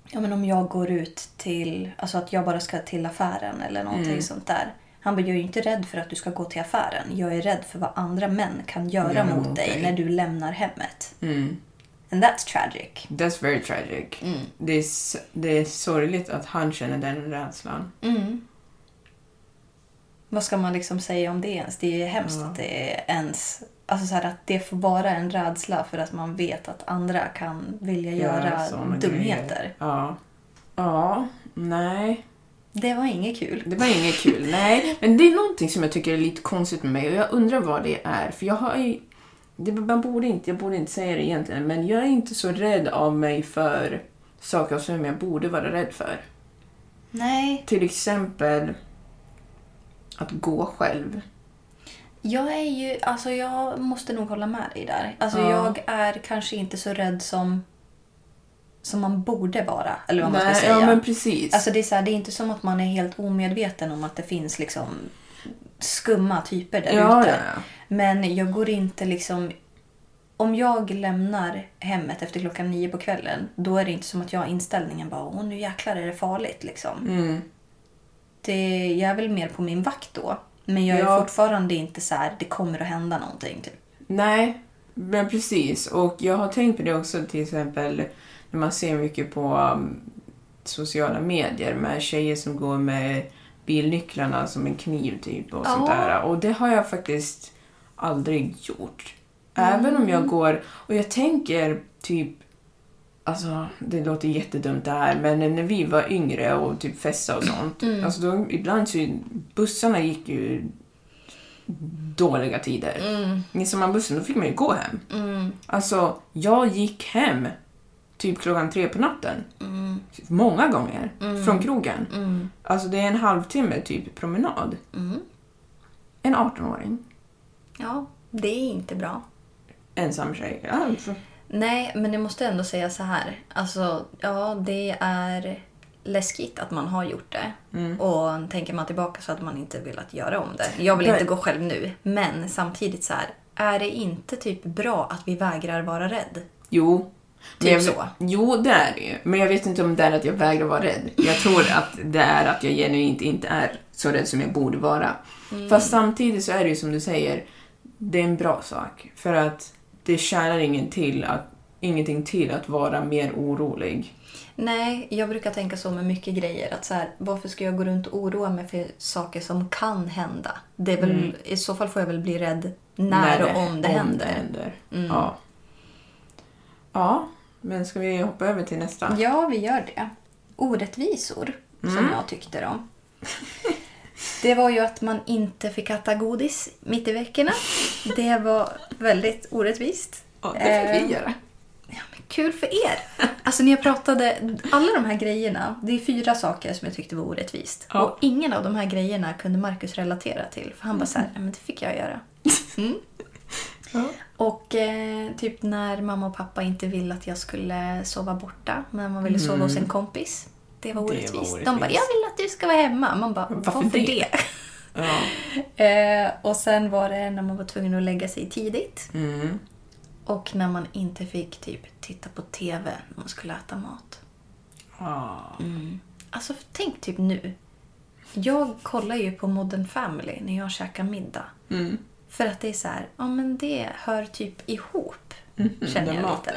[SPEAKER 2] Ja men om jag går ut till... Alltså att jag bara ska till affären eller någonting sånt där. Han bara, jag är ju inte rädd för att du ska gå till affären. Jag är rädd för vad andra män kan göra
[SPEAKER 1] Göra
[SPEAKER 2] mot
[SPEAKER 1] mot
[SPEAKER 2] dig
[SPEAKER 1] dig.
[SPEAKER 2] när du lämnar hemmet.
[SPEAKER 1] Mm.
[SPEAKER 2] And that's tragic.
[SPEAKER 1] That's very tragic.
[SPEAKER 2] Mm.
[SPEAKER 1] Det, är, s- det är sorgligt att han känner den rädslan.
[SPEAKER 2] Vad ska man liksom säga om det ens? Det är ju hemskt
[SPEAKER 1] Ja.
[SPEAKER 2] att det är ens... Alltså så här att det får vara en rädsla för att man vet att andra kan vilja göra,
[SPEAKER 1] såna
[SPEAKER 2] dumheter.
[SPEAKER 1] grejer. Ja. Ja, nej.
[SPEAKER 2] Det var inget kul.
[SPEAKER 1] Det var inget kul, nej. Men det är någonting som jag tycker är lite konstigt med mig och jag undrar vad det är. För jag har ju... Det, man borde inte, jag borde inte säga det egentligen, men jag är inte så rädd av mig för saker som jag borde vara rädd för.
[SPEAKER 2] Nej,
[SPEAKER 1] Till exempel att gå själv.
[SPEAKER 2] Jag är ju, alltså jag måste nog hålla med dig där. Alltså
[SPEAKER 1] Ja.
[SPEAKER 2] jag är kanske inte så rädd som, som man borde vara. Eller vad man ska
[SPEAKER 1] Nej,
[SPEAKER 2] säga.
[SPEAKER 1] Ja, men precis.
[SPEAKER 2] Alltså det är, så här, det är inte som att man är helt omedveten om att det finns liksom skumma typer där
[SPEAKER 1] ja,
[SPEAKER 2] ute.
[SPEAKER 1] ja, ja.
[SPEAKER 2] Men jag går inte liksom... Om jag lämnar hemmet efter klockan nio på kvällen, då är det inte som att jag har inställningen bara åh nu jäklar är det farligt liksom.
[SPEAKER 1] Mm.
[SPEAKER 2] Det, jag är väl mer på min vakt då. Men jag är
[SPEAKER 1] Ja.
[SPEAKER 2] fortfarande inte så här, det kommer att hända någonting. Typ.
[SPEAKER 1] Nej, men precis. Och jag har tänkt på det också till exempel när man ser mycket på um, sociala medier med tjejer som går med bilnycklarna som en kniv typ och
[SPEAKER 2] Ja.
[SPEAKER 1] sånt där. Och det har jag faktiskt aldrig gjort. Även om jag går och jag tänker typ Alltså, det låter jättedumt det här, men när vi var yngre och typ festa och sånt. Alltså då, ibland så bussarna gick ju dåliga tider.
[SPEAKER 2] Mm.
[SPEAKER 1] Missar man bussen då fick man ju gå hem. Alltså, jag gick hem typ klockan tre på natten.
[SPEAKER 2] Mm.
[SPEAKER 1] många gånger från krogen. Alltså det är en halvtimme typ promenad.
[SPEAKER 2] Mm.
[SPEAKER 1] En 18-åring,
[SPEAKER 2] Ja, det är inte bra.
[SPEAKER 1] ensam tjej. Alltså,
[SPEAKER 2] Nej, men jag måste ändå säga så här. Alltså, ja, det är läskigt att man har gjort det. Och tänker man tillbaka så hade man inte velat göra om det. Jag vill
[SPEAKER 1] Nej.
[SPEAKER 2] inte gå själv nu, men samtidigt så här. Är det inte typ bra att vi vägrar vara rädd?
[SPEAKER 1] jo. Men jag,
[SPEAKER 2] så.
[SPEAKER 1] Jo, det är det ju. Men jag vet inte om det är att jag vägrar vara rädd. Jag tror att det är att jag genuint inte är så rädd som jag borde vara.
[SPEAKER 2] Mm.
[SPEAKER 1] Fast samtidigt så är det ju som du säger, det är en bra sak. För att det tjänar ingen till att, ingenting till att vara mer orolig.
[SPEAKER 2] Nej, jag brukar tänka så med mycket grejer. Att så här, varför ska jag gå runt och oroa mig för saker som kan hända? Det är väl, I så fall får jag väl bli rädd Mm. när, och om det händer. Mm.
[SPEAKER 1] Ja. ja, men ska vi hoppa över till nästa?
[SPEAKER 2] Ja, vi gör det. Orättvisor, som
[SPEAKER 1] Mm.
[SPEAKER 2] jag tyckte om. Det var ju att man inte fick äta godis mitt i veckorna. Det var väldigt orättvist.
[SPEAKER 1] Ja, det fick
[SPEAKER 2] Eh,
[SPEAKER 1] vi göra.
[SPEAKER 2] Kul för er! Alltså när jag pratade, alla de här grejerna, det är fyra saker som jag tyckte var orättvist.
[SPEAKER 1] Ja.
[SPEAKER 2] Och ingen av de här grejerna kunde Markus relatera till. För han bara såhär, men det fick jag göra. Mm.
[SPEAKER 1] Ja.
[SPEAKER 2] Och eh, typ när mamma och pappa inte ville att jag skulle sova borta, men man ville sova hos en kompis. Det var
[SPEAKER 1] Mm. var
[SPEAKER 2] orättvist. De bara, jag
[SPEAKER 1] orättvist.
[SPEAKER 2] vill att du ska vara hemma. Man bara, varför,
[SPEAKER 1] Varför
[SPEAKER 2] det?
[SPEAKER 1] det? Ja.
[SPEAKER 2] eh, och sen var det när man var tvungen att lägga sig tidigt.
[SPEAKER 1] Mm.
[SPEAKER 2] Och när man inte fick typ titta på TV när man skulle äta mat.
[SPEAKER 1] Ja.
[SPEAKER 2] Alltså tänk typ nu. Jag kollar ju på Modern Family när jag käkar middag.
[SPEAKER 1] Mm.
[SPEAKER 2] För att det är så här, ja men det hör typ ihop. känner
[SPEAKER 1] Mm-hmm, den
[SPEAKER 2] jag lite.
[SPEAKER 1] maten.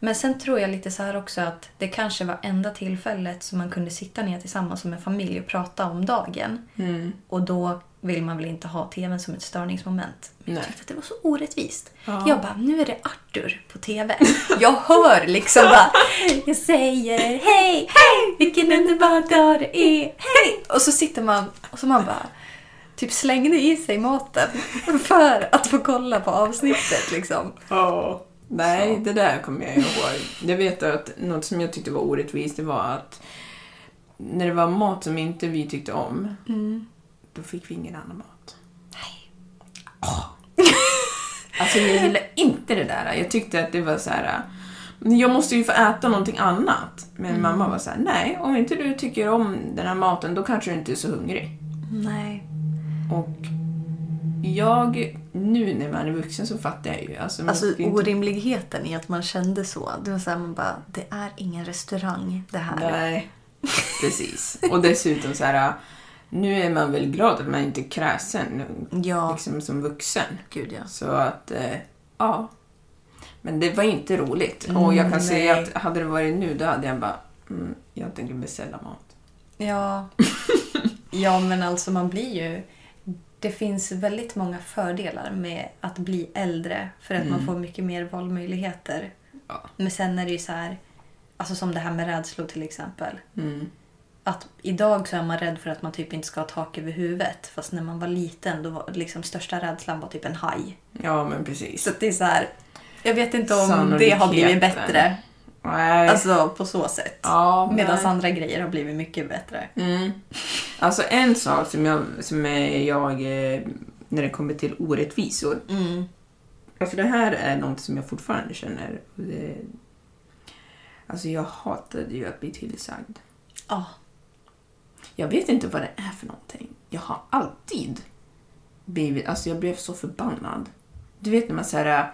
[SPEAKER 2] Men sen tror jag lite så här också att det kanske var enda tillfället som man kunde sitta ner tillsammans som en familj och prata om dagen.
[SPEAKER 1] Mm.
[SPEAKER 2] Och då vill man väl inte ha TVn som ett störningsmoment. Men jag
[SPEAKER 1] Nej.
[SPEAKER 2] tyckte att det var så orättvist.
[SPEAKER 1] Ja.
[SPEAKER 2] Jag bara, nu är det Arthur på TV. Jag hör liksom bara, jag säger hej, hej, vilken underbar dag det är, hej! Och så sitter man och så man bara, typ slängde i sig maten för att få kolla på avsnittet liksom.
[SPEAKER 1] Ja. Nej, det där kommer jag ihåg. Jag vet att något som jag tyckte var orättvist det var att när det var mat som inte vi tyckte om, Mm. då fick vi ingen annan mat. Nej. Alltså jag gillar inte det där. Jag tyckte att det var så här. "Men Jag måste ju få äta någonting annat. Men mamma var så här: nej, om inte du tycker om den här maten då kanske du inte är så hungrig.
[SPEAKER 2] Nej.
[SPEAKER 1] Och jag, nu när man är vuxen så fattar jag ju. Alltså, man
[SPEAKER 2] Alltså
[SPEAKER 1] ska ju inte-
[SPEAKER 2] orimligheten i att man kände så. Det var så här, man bara, det är ingen restaurang det här.
[SPEAKER 1] Nej, precis. Och dessutom så här, äh, nu är man väl glad att man inte är kräsen
[SPEAKER 2] Ja,
[SPEAKER 1] liksom som vuxen.
[SPEAKER 2] gud ja.
[SPEAKER 1] Så att, eh, ja. Men det var inte roligt. Och jag kan
[SPEAKER 2] Mm,
[SPEAKER 1] säga
[SPEAKER 2] nej.
[SPEAKER 1] att hade det varit nu då hade jag bara, mm, jag tänker beställa mat.
[SPEAKER 2] Ja. ja, men alltså man blir ju... Det finns väldigt många fördelar med att bli äldre för att man får mycket mer valmöjligheter.
[SPEAKER 1] Mm. Ja.
[SPEAKER 2] Men sen är det ju så här, alltså som det här med rädslor till exempel.
[SPEAKER 1] Mm.
[SPEAKER 2] Att idag så är man rädd för att man typ inte ska ha tak över huvudet. Fast när man var liten då var liksom största rädslan var typ en haj.
[SPEAKER 1] Ja, men precis.
[SPEAKER 2] Så att det är så här, jag vet inte om det har
[SPEAKER 1] Sannolikheten.
[SPEAKER 2] blivit bättre.
[SPEAKER 1] Nej.
[SPEAKER 2] Alltså på så sätt.
[SPEAKER 1] ja,
[SPEAKER 2] Medan
[SPEAKER 1] nej.
[SPEAKER 2] andra grejer har blivit mycket bättre.
[SPEAKER 1] Mm. Alltså en sak som jag, som är jag eh, när det kommer till orättvisor. Alltså det här är något som jag fortfarande känner. och Det, alltså jag hatade ju att bli tillsagd.
[SPEAKER 2] Ja.
[SPEAKER 1] Jag vet inte vad det är för någonting. Jag har alltid blivit, alltså jag blev så förbannad. Du vet när man säger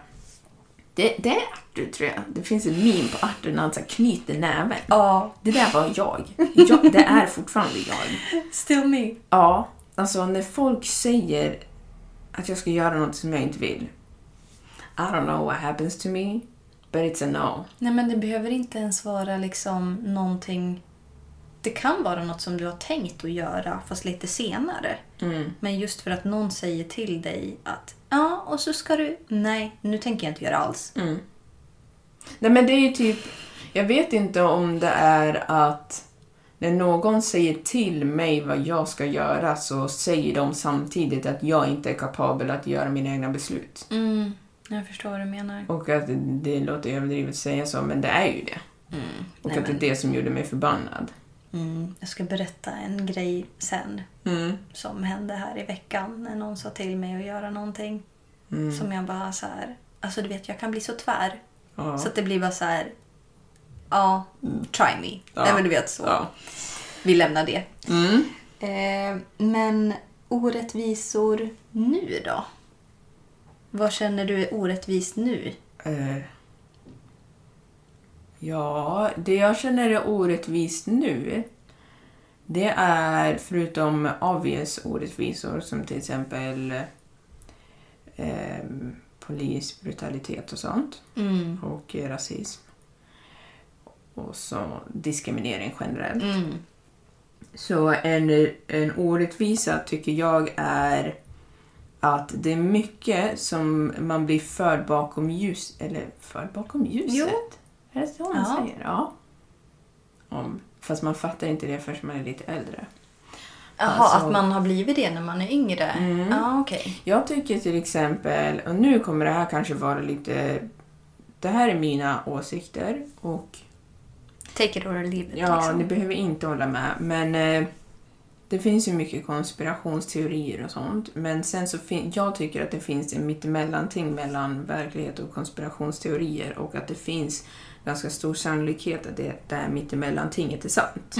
[SPEAKER 1] det, det är Arthur tror jag. Det finns en meme på Arthur när han så här knyter näven.
[SPEAKER 2] Ja.
[SPEAKER 1] Det där var jag. jag. Det är fortfarande jag.
[SPEAKER 2] Still me.
[SPEAKER 1] Ja, alltså när folk säger att jag ska göra något som jag inte vill. I don't know what happens to me, but it's a no.
[SPEAKER 2] Nej men det behöver inte ens vara liksom någonting... Det kan vara något som du har tänkt att göra fast lite senare. Men just för att någon säger till dig att ja och så ska du... Nej, nu tänker jag inte göra alls.
[SPEAKER 1] Nej men det är ju typ, jag vet inte om det är att när någon säger till mig vad jag ska göra så säger de samtidigt att jag inte är kapabel att göra mina egna beslut.
[SPEAKER 2] Mm, jag förstår vad du menar.
[SPEAKER 1] Och att det låter överdrivet att säga så, men det är ju det. Och
[SPEAKER 2] Mm. Nej,
[SPEAKER 1] att det är det som gjorde mig förbannad.
[SPEAKER 2] Mm. Jag ska berätta en grej sen
[SPEAKER 1] Mm.
[SPEAKER 2] som hände här i veckan när någon sa till mig att göra någonting.
[SPEAKER 1] Mm.
[SPEAKER 2] Som jag bara så här, alltså du vet jag kan bli så tvär.
[SPEAKER 1] Ja.
[SPEAKER 2] Så att det blir bara så här, ja, mm, try me.
[SPEAKER 1] Ja.
[SPEAKER 2] Nej men du vet så.
[SPEAKER 1] Ja. Mm.
[SPEAKER 2] Vi lämnar det. Eh, men orättvisor nu då? Vad känner du är orättvist nu?
[SPEAKER 1] Eh, ja, det jag känner är orättvist nu det är förutom obvious orättvisor som till exempel eh, polisbrutalitet och sånt och eh, rasism och så diskriminering generellt. Så en, en orättvisa tycker jag är att det är mycket som man blir förd bakom ljus eller förd bakom ljuset? Är det så man
[SPEAKER 2] Ja.
[SPEAKER 1] säger? Ja. Om, fast man fattar inte det förrän man är lite äldre.
[SPEAKER 2] Jaha,
[SPEAKER 1] Alltså- Mm.
[SPEAKER 2] att man har blivit det när man är yngre? Ja, okej.
[SPEAKER 1] Jag tycker till exempel, och nu kommer det här kanske vara lite... Det här är mina åsikter och
[SPEAKER 2] Take it or leave it.
[SPEAKER 1] Ja,
[SPEAKER 2] liksom.
[SPEAKER 1] ni behöver inte hålla med. Men eh, det finns ju mycket konspirationsteorier och sånt. Men sen så fin- jag tycker att det finns en mittemellanting mellan verklighet och konspirationsteorier och att det finns ganska stor sannolikhet att det där mittemellantinget är sant.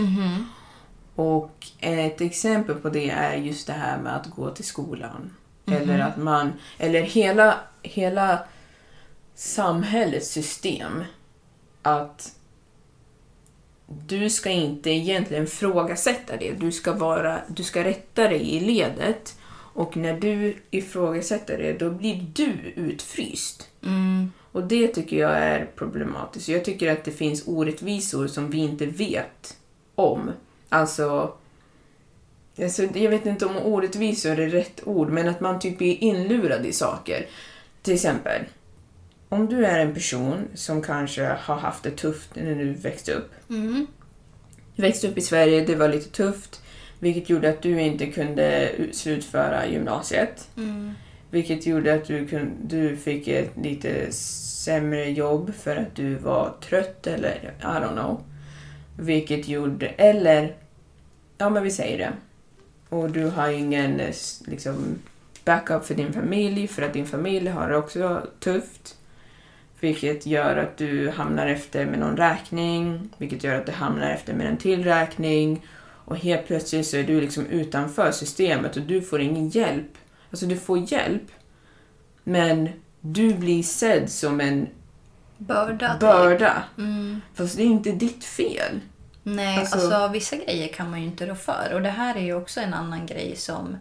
[SPEAKER 1] Och ett exempel på det är just det här med att gå till skolan. Eller att man, eller hela, hela samhällets system att du ska inte egentligen frågasätta det. Du ska, vara, du ska rätta dig i ledet och när du ifrågasätter det då blir du utfryst. Och det tycker jag är problematiskt. Jag tycker att det finns orättvisor som vi inte vet om. Alltså, alltså jag vet inte om orättvisor är rätt ord, men att man typ blir inlurad i saker. Till exempel, om du är en person som kanske har haft det tufft när du växte upp. Du växte upp i Sverige, det var lite tufft, vilket gjorde att du inte kunde slutföra gymnasiet. Vilket gjorde att du, kun, du fick ett lite sämre jobb för att du var trött eller I don't know. Vilket gjorde, eller, ja men vi säger det. Och du har ingen eh, s- liksom, backup för din familj för att din familj har det också tufft. Vilket gör att du hamnar efter med någon räkning, vilket gör att du hamnar efter med en till räkning. Och helt plötsligt så är du liksom utanför systemet och du får ingen hjälp. Alltså du får hjälp, men du blir sedd som en
[SPEAKER 2] Börda. typ.
[SPEAKER 1] börda.
[SPEAKER 2] Mm.
[SPEAKER 1] Fast det är inte ditt fel.
[SPEAKER 2] Nej,
[SPEAKER 1] Alltså-
[SPEAKER 2] alltså... vissa grejer kan man ju inte rå för. Och det här är ju också en annan grej som,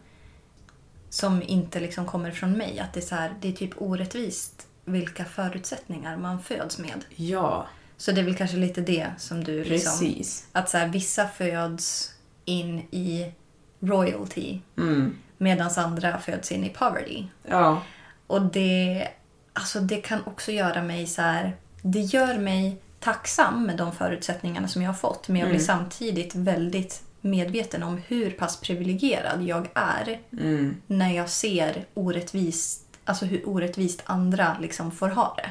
[SPEAKER 2] som inte liksom kommer från mig. Att det är, så här, det är typ orättvist vilka förutsättningar man föds med.
[SPEAKER 1] Ja,
[SPEAKER 2] Så det är väl kanske lite det som du... Liksom,
[SPEAKER 1] precis.
[SPEAKER 2] att så här, vissa föds in i royalty
[SPEAKER 1] Mm.
[SPEAKER 2] medan andra föds in i poverty.
[SPEAKER 1] Ja,
[SPEAKER 2] Och det, alltså det kan också göra mig så här... Det gör mig tacksam med de förutsättningarna som jag har fått men jag
[SPEAKER 1] Mm.
[SPEAKER 2] blir samtidigt väldigt medveten om hur pass privilegierad jag är
[SPEAKER 1] Mm.
[SPEAKER 2] när jag ser orättvist, alltså hur orättvist andra liksom får ha det.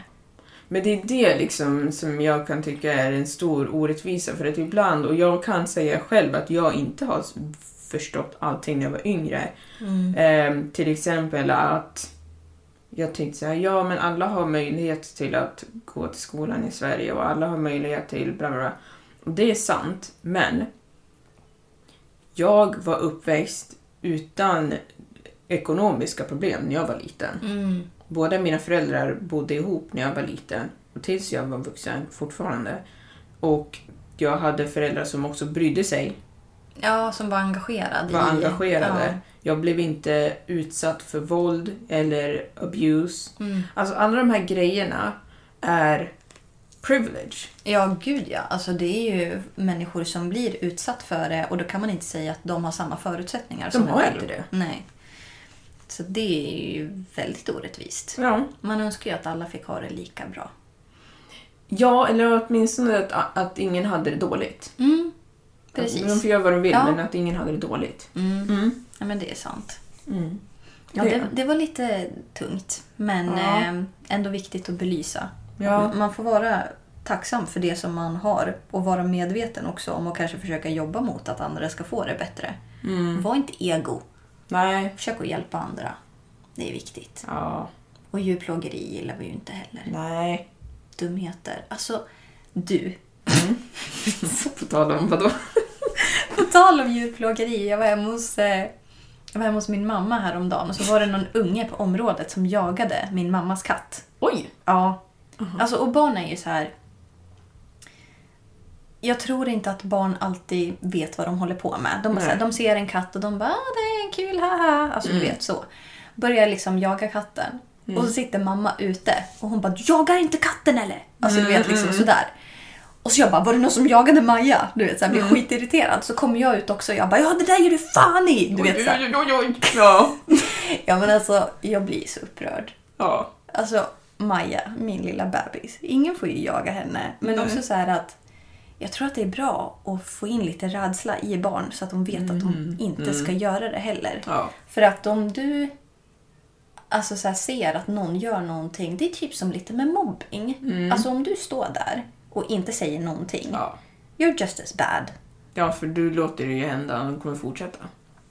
[SPEAKER 1] Men det är det liksom som jag kan tycka är en stor orättvisa för att ibland, och jag kan säga själv att jag inte har s- förstått allting när jag var yngre. Ehm, till exempel att jag tänkte så här, ja men alla har möjlighet till att gå till skolan i Sverige och alla har möjlighet till bla bla bla. Och det är sant, men jag var uppväxt utan ekonomiska problem när jag var liten.
[SPEAKER 2] Mm.
[SPEAKER 1] Båda mina föräldrar bodde ihop när jag var liten och tills jag var vuxen fortfarande. Och jag hade föräldrar som också brydde sig,
[SPEAKER 2] Ja, som var engagerad.
[SPEAKER 1] var
[SPEAKER 2] i-
[SPEAKER 1] engagerade.
[SPEAKER 2] Ja.
[SPEAKER 1] Jag blev inte utsatt för våld eller abuse.
[SPEAKER 2] Mm.
[SPEAKER 1] Alltså alla de här grejerna är privilege.
[SPEAKER 2] Ja, gud ja. Alltså, det är ju människor som blir utsatt för det och då kan man inte säga att de har samma förutsättningar.
[SPEAKER 1] De har inte det.
[SPEAKER 2] Nej. Så det är ju väldigt orättvist.
[SPEAKER 1] Ja.
[SPEAKER 2] Man önskar ju att alla fick ha det lika bra.
[SPEAKER 1] ja, eller åtminstone att, att ingen hade det dåligt.
[SPEAKER 2] Mm. Precis.
[SPEAKER 1] De får göra vad de vill,
[SPEAKER 2] Ja.
[SPEAKER 1] men att ingen hade det dåligt.
[SPEAKER 2] Mm. Ja, men det är sant.
[SPEAKER 1] Mm.
[SPEAKER 2] Ja,
[SPEAKER 1] Det-
[SPEAKER 2] det, det var lite tungt, men
[SPEAKER 1] Ja.
[SPEAKER 2] eh, ändå viktigt att belysa.
[SPEAKER 1] Ja.
[SPEAKER 2] M- Man får vara tacksam för det som man har och vara medveten också om och kanske försöka jobba mot att andra ska få det bättre.
[SPEAKER 1] Mm.
[SPEAKER 2] Var inte ego.
[SPEAKER 1] Nej.
[SPEAKER 2] Försök att hjälpa andra. Det är viktigt.
[SPEAKER 1] Ja.
[SPEAKER 2] Och djurplågeri gillar vi ju inte heller.
[SPEAKER 1] Nej.
[SPEAKER 2] Dumheter. Alltså, du.
[SPEAKER 1] På tal om vadå?
[SPEAKER 2] På tal om djurplågeri, jag var hemma hos, eh, jag var hemma hos min mamma häromdagen och så var det någon unge på området som jagade min mammas katt.
[SPEAKER 1] Oj!
[SPEAKER 2] Ja. Alltså, och barn är ju så här... Jag tror inte att barn alltid vet vad de håller på med. De, bara så här,
[SPEAKER 1] Nej. Mm.
[SPEAKER 2] de ser en katt och de bara ah, “det är en kul, haha”. Alltså du vet så. Börjar liksom jaga katten. Och så sitter mamma ute och hon bara “jagar inte katten eller?” Alltså
[SPEAKER 1] Mm,
[SPEAKER 2] du vet liksom sådär. Och så jag bara “var det någon som jagade Maja?” Du vet, så här, blir
[SPEAKER 1] Mm.
[SPEAKER 2] skitirriterad. Så kommer jag ut också och jag bara “ja det där gör du fan i!” Du vet så här.
[SPEAKER 1] Oj, oj, oj, oj. Ja.
[SPEAKER 2] Ja men alltså, jag blir så upprörd.
[SPEAKER 1] ja.
[SPEAKER 2] Alltså Maja, min lilla bebis. Ingen får ju jaga henne. Men
[SPEAKER 1] Nej.
[SPEAKER 2] också så här att jag tror att det är bra att få in lite rädsla i barn så att de vet att de inte ska göra det heller.
[SPEAKER 1] Mm. Ja.
[SPEAKER 2] För att om du alltså så här, ser att någon gör någonting, det är typ som lite med mobbing. Alltså om du står där och inte säger någonting,
[SPEAKER 1] Mm. Ja.
[SPEAKER 2] you're just as bad.
[SPEAKER 1] Ja, för du låter det ju hända och kommer fortsätta.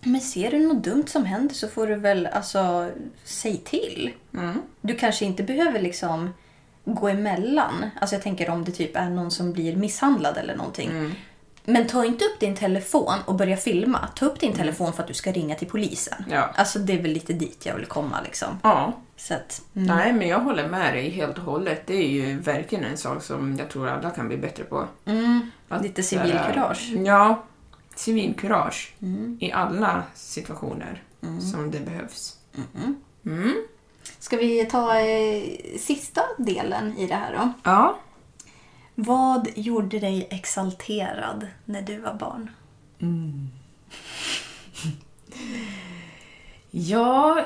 [SPEAKER 2] Men ser du något dumt som händer så får du väl alltså säg till.
[SPEAKER 1] Mm.
[SPEAKER 2] Du kanske inte behöver liksom gå emellan. Alltså jag tänker om det typ är någon som blir misshandlad eller någonting.
[SPEAKER 1] Mm.
[SPEAKER 2] Men ta inte upp din telefon och börja filma. Ta upp din telefon för att du ska ringa till polisen.
[SPEAKER 1] Mm. Ja.
[SPEAKER 2] Alltså det är väl lite dit jag vill komma liksom.
[SPEAKER 1] Ja.
[SPEAKER 2] Så att, mm.
[SPEAKER 1] Nej, men jag håller med dig helt och hållet. Det är ju verkligen en sak som jag tror alla kan bli bättre på.
[SPEAKER 2] Mm,
[SPEAKER 1] Att eh,
[SPEAKER 2] lite
[SPEAKER 1] så här-
[SPEAKER 2] civilkurage. Mm.
[SPEAKER 1] Ja, civilkurage i alla situationer som det behövs. Mm.
[SPEAKER 2] Ska vi ta eh, sista delen i det här då?
[SPEAKER 1] Ja,
[SPEAKER 2] Vad gjorde dig exalterad när du var barn?
[SPEAKER 1] Ja,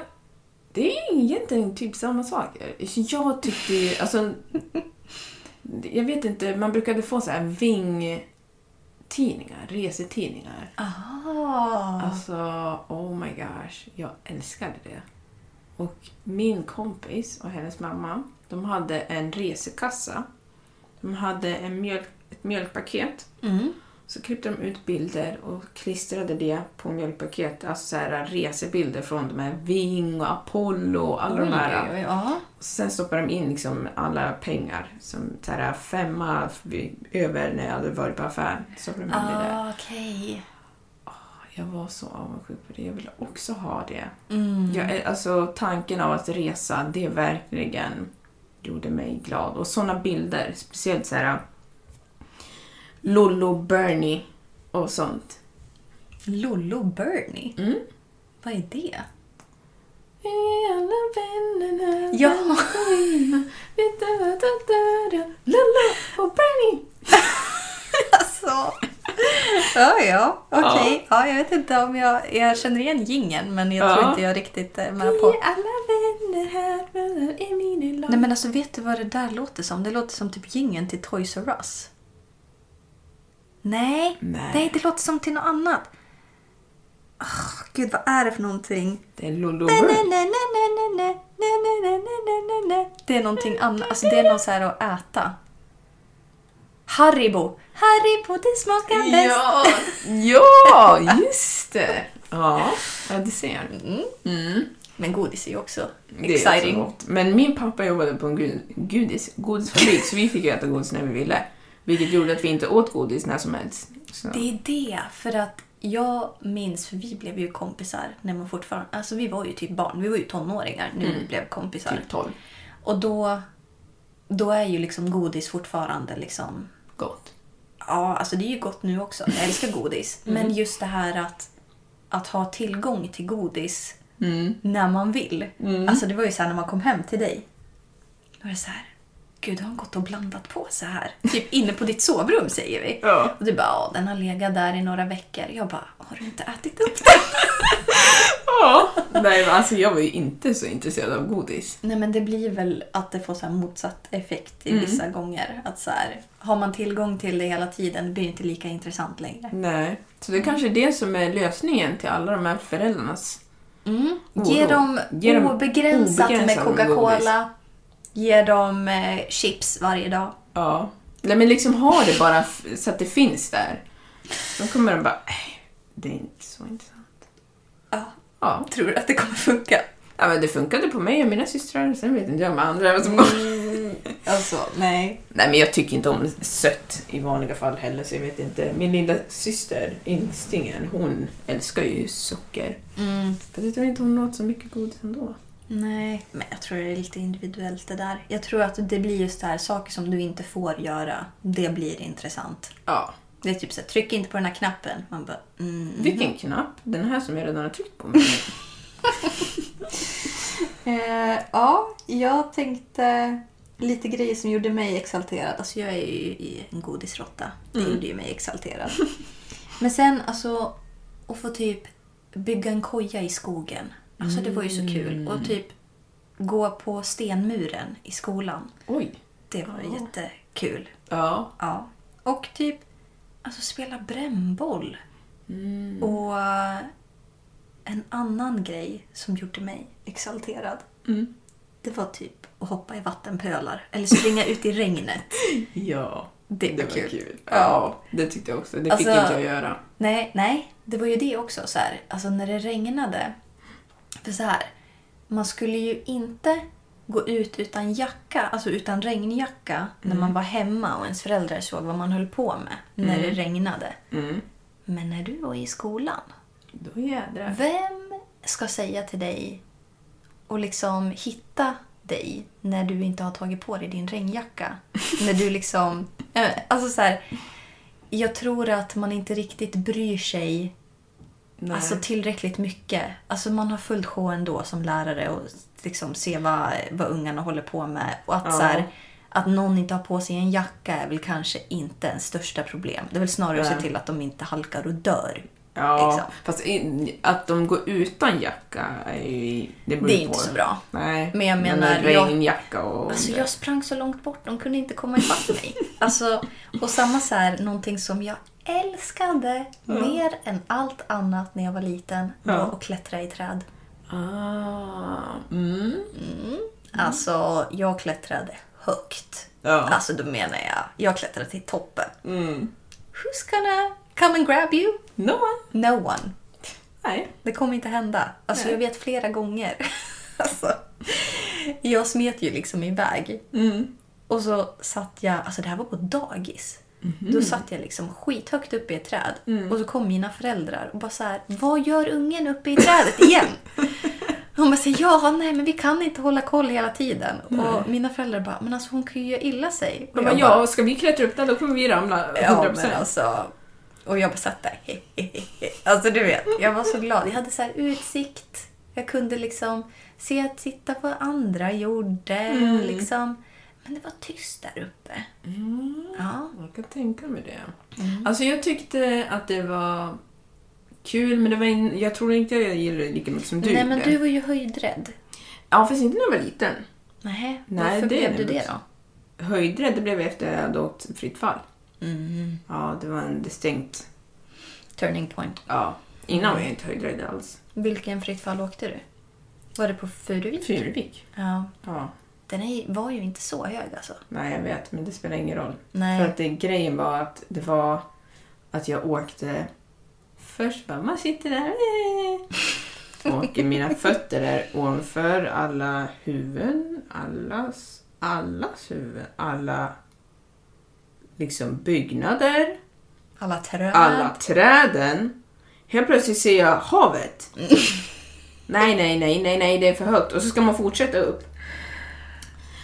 [SPEAKER 1] det är egentligen typ samma saker. Jag tyckte ju, alltså... Jag vet inte, man brukade få så här vingtidningar, resetidningar.
[SPEAKER 2] Ah.
[SPEAKER 1] Alltså, oh my gosh, jag älskade det. Och min kompis och hennes mamma, de hade en resekassa. De hade en mjölk, ett mjölkpaket.
[SPEAKER 2] Mm.
[SPEAKER 1] Så klippte de ut bilder och klistrade det på mjölkpaket. Alltså så här resebilder från de här Ving och Apollo och alla de här.
[SPEAKER 2] Oj, oj, oj, ja.
[SPEAKER 1] Sen stoppade de in liksom alla pengar. Som så här femma vid- över när jag hade varit på affären. Stoppade de in det där.
[SPEAKER 2] Ah, okej.
[SPEAKER 1] Jag var så avundsjuk på det. Jag ville också ha det.
[SPEAKER 2] Mm.
[SPEAKER 1] Jag, är- alltså tanken av att resa, det verkligen gjorde mig glad. Och såna bilder, speciellt så här äh, Lollo Bernie och sånt.
[SPEAKER 2] Lollo Bernie?
[SPEAKER 1] Mm.
[SPEAKER 2] Vad är det?
[SPEAKER 1] Alla vännerna...
[SPEAKER 2] Jaha.
[SPEAKER 1] Lollo och Bernie!
[SPEAKER 2] Alltså. Ja, ja. Okej. Ja, jag vet inte om jag... Jag känner igen gingen men jag tror
[SPEAKER 1] Ja.
[SPEAKER 2] inte jag riktigt eh, är med
[SPEAKER 1] Vi
[SPEAKER 2] på.
[SPEAKER 1] är alla vänner här, vänner i min lilla...
[SPEAKER 2] Nej men alltså vet du vad det där låter som? Det låter som typ gingen till Toys R Us. Nej.
[SPEAKER 1] Nej.
[SPEAKER 2] Nej, det låter som till något annat. Ah, Gud, vad är det för någonting?
[SPEAKER 1] Det är Lollo
[SPEAKER 2] Nej, nej,
[SPEAKER 1] Bernie.
[SPEAKER 2] nej, nej, nej, nej, nej, nej, nej, nej, nej, nej, nej, nej. Det är någonting annat. Alltså det är något så här att äta. Haribo. Haribo det smakar bäst.
[SPEAKER 1] Ja, ja, just det! Ja, ja du ser.
[SPEAKER 2] Men godis är ju också
[SPEAKER 1] Mm. Det är
[SPEAKER 2] Mm. exciting.
[SPEAKER 1] så gott. Men min pappa jobbade på en gud, gudis, godisfabrik så vi fick ju äta godis när vi ville. Vilket gjorde att vi inte åt godis när som helst. Så. typ
[SPEAKER 2] Det är det, för att jag minns, för vi blev ju kompisar när man fortfarande... Alltså vi var ju typ barn, vi var ju tonåringar när vi blev kompisar.
[SPEAKER 1] Typ 12.
[SPEAKER 2] Och då, då är ju liksom godis fortfarande liksom
[SPEAKER 1] Gott.
[SPEAKER 2] Ja, alltså det är ju gott nu också. Jag älskar godis. Men just det här att, att ha tillgång till godis när man vill. Alltså det var ju så här när man kom hem till dig. Då var det så här. Gud, har han gått och blandat på så här? Typ inne på ditt sovrum säger vi.
[SPEAKER 1] Ja.
[SPEAKER 2] Och du bara, ja den har legat där i några veckor. Jag bara, har du inte ätit upp den?
[SPEAKER 1] Ja. Nej, men alltså jag var ju inte så intresserad av godis.
[SPEAKER 2] Nej men det blir väl att det får så här motsatt effekt i vissa gånger. Att så här, har man tillgång till det hela tiden, det blir inte lika intressant längre.
[SPEAKER 1] Nej. Så det är kanske är det som är lösningen till alla de här föräldrarnas...
[SPEAKER 2] Mm.
[SPEAKER 1] Oro.
[SPEAKER 2] Ge dem
[SPEAKER 1] Ge dem
[SPEAKER 2] obegränsat med
[SPEAKER 1] obegränsat med
[SPEAKER 2] Coca-Cola. Ge dem eh, chips varje dag.
[SPEAKER 1] Ja. Nej, men liksom ha det bara f- så att det finns där. Då kommer de bara, "Eh, det är inte så intressant.
[SPEAKER 2] Ja.
[SPEAKER 1] Ja,
[SPEAKER 2] Tror du att det kommer funka?
[SPEAKER 1] ja men det funkade på mig och mina systrar, sen vet inte jag med andra vad som kommer.
[SPEAKER 2] Alltså, nej.
[SPEAKER 1] Nej men jag tycker inte om sött i vanliga fall heller så jag vet inte. Min lilla syster, Yngstingen, hon älskar ju socker.
[SPEAKER 2] Mm.
[SPEAKER 1] För jag tror inte hon åt så mycket godis ändå.
[SPEAKER 2] Nej, men jag tror det är lite individuellt det där. Jag tror att det blir just det här, saker som du inte får göra, det blir intressant.
[SPEAKER 1] Ja.
[SPEAKER 2] Det är typ såhär, tryck inte på den här knappen. Man bara, mm.
[SPEAKER 1] Vilken knapp? Den här som jag redan har tryckt på. Mig.
[SPEAKER 2] Eh, ja, jag tänkte lite grejer som gjorde mig exalterad. Alltså jag är ju i en godisrotta. Det gjorde ju mig exalterad. Men sen alltså att få typ bygga en koja i skogen. Alltså det var ju så kul. Och typ gå på stenmuren i skolan.
[SPEAKER 1] Oj.
[SPEAKER 2] Det var
[SPEAKER 1] Ja.
[SPEAKER 2] jättekul.
[SPEAKER 1] Ja.
[SPEAKER 2] Ja. Och typ alltså spela brännboll.
[SPEAKER 1] Mm.
[SPEAKER 2] Och eh, en annan grej som gjorde mig exalterad.
[SPEAKER 1] Mm.
[SPEAKER 2] Det var typ att hoppa i vattenpölar eller springa ut i regnet.
[SPEAKER 1] Ja.
[SPEAKER 2] Det var kul.
[SPEAKER 1] Ja, det tyckte jag också. Det
[SPEAKER 2] Alltså-
[SPEAKER 1] fick inte jag göra.
[SPEAKER 2] Nej, nej, det var ju det också. Så här. Alltså när det regnade. För så här, man skulle ju inte gå ut utan jacka, alltså utan regnjacka när
[SPEAKER 1] Mm.
[SPEAKER 2] man var hemma och ens föräldrar såg vad man höll på med när det regnade.
[SPEAKER 1] Mm.
[SPEAKER 2] Men när du var i skolan,
[SPEAKER 1] Då jädrar.
[SPEAKER 2] vem ska säga till dig och liksom hitta dig när du inte har tagit på dig din regnjacka? när du liksom... eh, Alltså så här, jag tror att man inte riktigt bryr sig
[SPEAKER 1] Nej.
[SPEAKER 2] alltså, tillräckligt mycket. Alltså man har fullt sjå ändå som lärare och liksom se vad, vad ungarna håller på med. Och att,
[SPEAKER 1] Ja.
[SPEAKER 2] så här, att någon inte har på sig en jacka är väl kanske inte ens största problem. Det är väl snarare att se
[SPEAKER 1] Nej.
[SPEAKER 2] till att de inte halkar och dör.
[SPEAKER 1] ja,
[SPEAKER 2] liksom.
[SPEAKER 1] fast i- att de går utan jacka är ju... Det, beror
[SPEAKER 2] Det är
[SPEAKER 1] på.
[SPEAKER 2] inte så bra.
[SPEAKER 1] Nej.
[SPEAKER 2] Men jag menar,
[SPEAKER 1] en
[SPEAKER 2] jag-
[SPEAKER 1] regnjacka och...
[SPEAKER 2] Alltså jag sprang så långt bort, de kunde inte komma ifatt mig. Alltså, och samma så här, någonting som jag älskade mer än allt annat när jag var liten var
[SPEAKER 1] Ja.
[SPEAKER 2] att klättra i träd.
[SPEAKER 1] Ah, mm.
[SPEAKER 2] Alltså, jag klättrade högt.
[SPEAKER 1] Ja.
[SPEAKER 2] Alltså, då menar jag, jag klättrade till toppen.
[SPEAKER 1] Mm.
[SPEAKER 2] Who's gonna come and grab you?
[SPEAKER 1] No one.
[SPEAKER 2] No one.
[SPEAKER 1] Nej.
[SPEAKER 2] Det kommer inte hända. Alltså,
[SPEAKER 1] Nej.
[SPEAKER 2] jag vet flera gånger. alltså, jag smet ju liksom iväg.
[SPEAKER 1] Mm.
[SPEAKER 2] Och så satt jag, alltså det här var på dagis.
[SPEAKER 1] Mhm.
[SPEAKER 2] Då satt jag liksom skithögt uppe i ett träd
[SPEAKER 1] Mm.
[SPEAKER 2] och så kom mina föräldrar och bara så här, vad gör ungen uppe i trädet igen? Hon bara säger ja, nej men vi kan inte hålla koll hela tiden. Och mina föräldrar bara, men alltså hon kan ju göra illa sig. Och
[SPEAKER 1] De bara,
[SPEAKER 2] jag bara,
[SPEAKER 1] ja, ska vi klättra upp där då kommer vi ramla 100%.
[SPEAKER 2] ja men alltså. Och jag bara satt där, Alltså du vet, jag var så glad. Jag hade så här utsikt. Jag kunde liksom se att titta på vad andra gjorde.
[SPEAKER 1] Mm.
[SPEAKER 2] Och liksom. Men det var tyst där uppe.
[SPEAKER 1] Mm.
[SPEAKER 2] Ja.
[SPEAKER 1] Jag kan tänka mig det.
[SPEAKER 2] Mm.
[SPEAKER 1] Alltså jag tyckte att det var kul, men det var in... jag tror inte jag gillade det lika mycket som du
[SPEAKER 2] Nej, men
[SPEAKER 1] gjorde.
[SPEAKER 2] du var ju höjdrädd.
[SPEAKER 1] Ja, fast inte när jag var liten.
[SPEAKER 2] Nej,
[SPEAKER 1] Nej,
[SPEAKER 2] varför
[SPEAKER 1] det
[SPEAKER 2] blev
[SPEAKER 1] är
[SPEAKER 2] du
[SPEAKER 1] det
[SPEAKER 2] det
[SPEAKER 1] också.
[SPEAKER 2] då?
[SPEAKER 1] Höjdrädd det blev jag efter jag hade åkt fritt fall.
[SPEAKER 2] Mm.
[SPEAKER 1] Ja, det var en distinkt...
[SPEAKER 2] Turning point.
[SPEAKER 1] Ja, innan var jag inte höjdrädd alls.
[SPEAKER 2] Vilken fritt fall åkte du? Var det på Furuvik?
[SPEAKER 1] Fyrvik?
[SPEAKER 2] Ja.
[SPEAKER 1] Ja.
[SPEAKER 2] Den är, var ju inte så hög alltså.
[SPEAKER 1] Nej, jag vet, men det spelar ingen roll.
[SPEAKER 2] Nej.
[SPEAKER 1] För att det, grejen var att det var att jag åkte... Först bara, man sitter där... eh, Åker mina fötter där ovanför alla huvuden, allas, allas huvuden, alla liksom byggnader,
[SPEAKER 2] Alla träd.
[SPEAKER 1] alla träden. Helt plötsligt ser jag havet. Nej, nej, nej, nej, nej, det är för högt. Och så ska man fortsätta upp.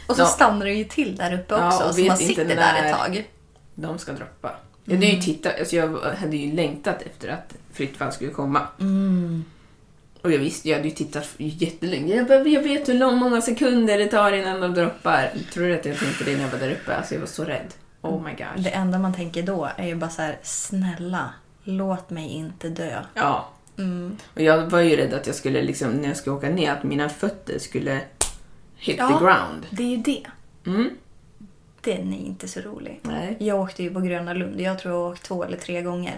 [SPEAKER 2] Och så
[SPEAKER 1] Ja.
[SPEAKER 2] stannar du ju till där uppe
[SPEAKER 1] Ja,
[SPEAKER 2] också.
[SPEAKER 1] och
[SPEAKER 2] så
[SPEAKER 1] vet
[SPEAKER 2] man
[SPEAKER 1] inte
[SPEAKER 2] sitter
[SPEAKER 1] när-
[SPEAKER 2] där ett tag.
[SPEAKER 1] De ska droppa. Jag, hade
[SPEAKER 2] Mm.
[SPEAKER 1] ju tittat, alltså jag hade ju längtat efter att Fritt fall skulle komma.
[SPEAKER 2] Mm.
[SPEAKER 1] Och jag visste, jag hade ju tittat jättelänge. Jag, bara, jag vet hur lång, många sekunder det tar innan de droppar. Tror du att jag tänkte det när jag var där uppe? Alltså jag var så rädd. Oh my gosh.
[SPEAKER 2] Det enda man tänker då är ju bara så här, snälla, låt mig inte dö.
[SPEAKER 1] Ja.
[SPEAKER 2] Mm.
[SPEAKER 1] Och jag var ju rädd att jag skulle, liksom, när jag skulle åka ner, att mina fötter skulle hit
[SPEAKER 2] Ja.
[SPEAKER 1] the ground.
[SPEAKER 2] Det är ju det.
[SPEAKER 1] Mm.
[SPEAKER 2] Den är inte så rolig.
[SPEAKER 1] Nej.
[SPEAKER 2] Jag åkte ju på Gröna Lund. Jag tror jag har åkt två eller tre gånger.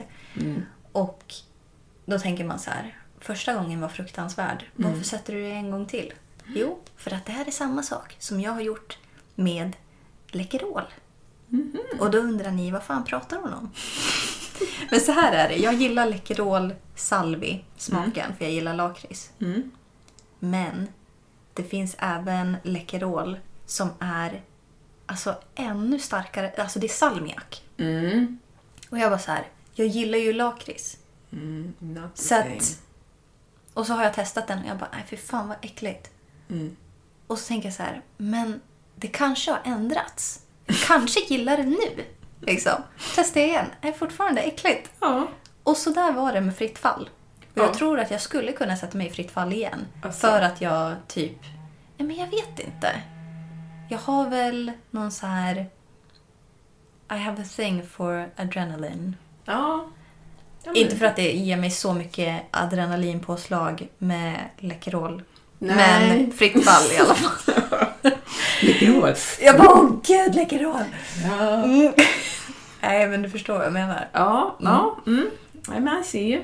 [SPEAKER 2] Och då tänker man så här. Första gången var fruktansvärd. Varför sätter du dig en gång till? Jo, för att det här är samma sak som jag har gjort med Läkerol. Och då undrar ni, vad fan pratar hon om? Men så här är det, jag gillar Läkerol Salvi smaken, för jag gillar lakrits.
[SPEAKER 1] Mm.
[SPEAKER 2] Men det finns även Läkerol som är alltså ännu starkare, alltså det är salmiak.
[SPEAKER 1] Mm.
[SPEAKER 2] Och jag var så här, jag gillar ju lakrits.
[SPEAKER 1] Mm. Not the
[SPEAKER 2] Så
[SPEAKER 1] same.
[SPEAKER 2] att, och så har jag testat den och jag bara, nej fy fan vad äckligt.
[SPEAKER 1] Mm.
[SPEAKER 2] Och så tänker jag så här, men det kanske har ändrats. Jag kanske gillar det nu. Liksom. Testar jag igen, är fortfarande äckligt.
[SPEAKER 1] Ja.
[SPEAKER 2] Och så där var det med fritt fall. Och jag
[SPEAKER 1] Ja.
[SPEAKER 2] tror att jag skulle kunna sätta mig i fritt fall igen.
[SPEAKER 1] Alltså.
[SPEAKER 2] För att jag typ, nej men jag vet inte. Jag har väl någon så här, I have a thing for adrenaline.
[SPEAKER 1] Ja. ja men-
[SPEAKER 2] Inte för att det ger mig så mycket adrenalinpåslag med Läkerol.
[SPEAKER 1] Nej.
[SPEAKER 2] Men fritt fall i alla fall.
[SPEAKER 1] Läckerol.
[SPEAKER 2] Jag bara, åh gud, Läkerol!
[SPEAKER 1] Ja.
[SPEAKER 2] Mm. Nej, men du förstår vad jag menar.
[SPEAKER 1] Ja, ja. Mm. Nej, men I see you.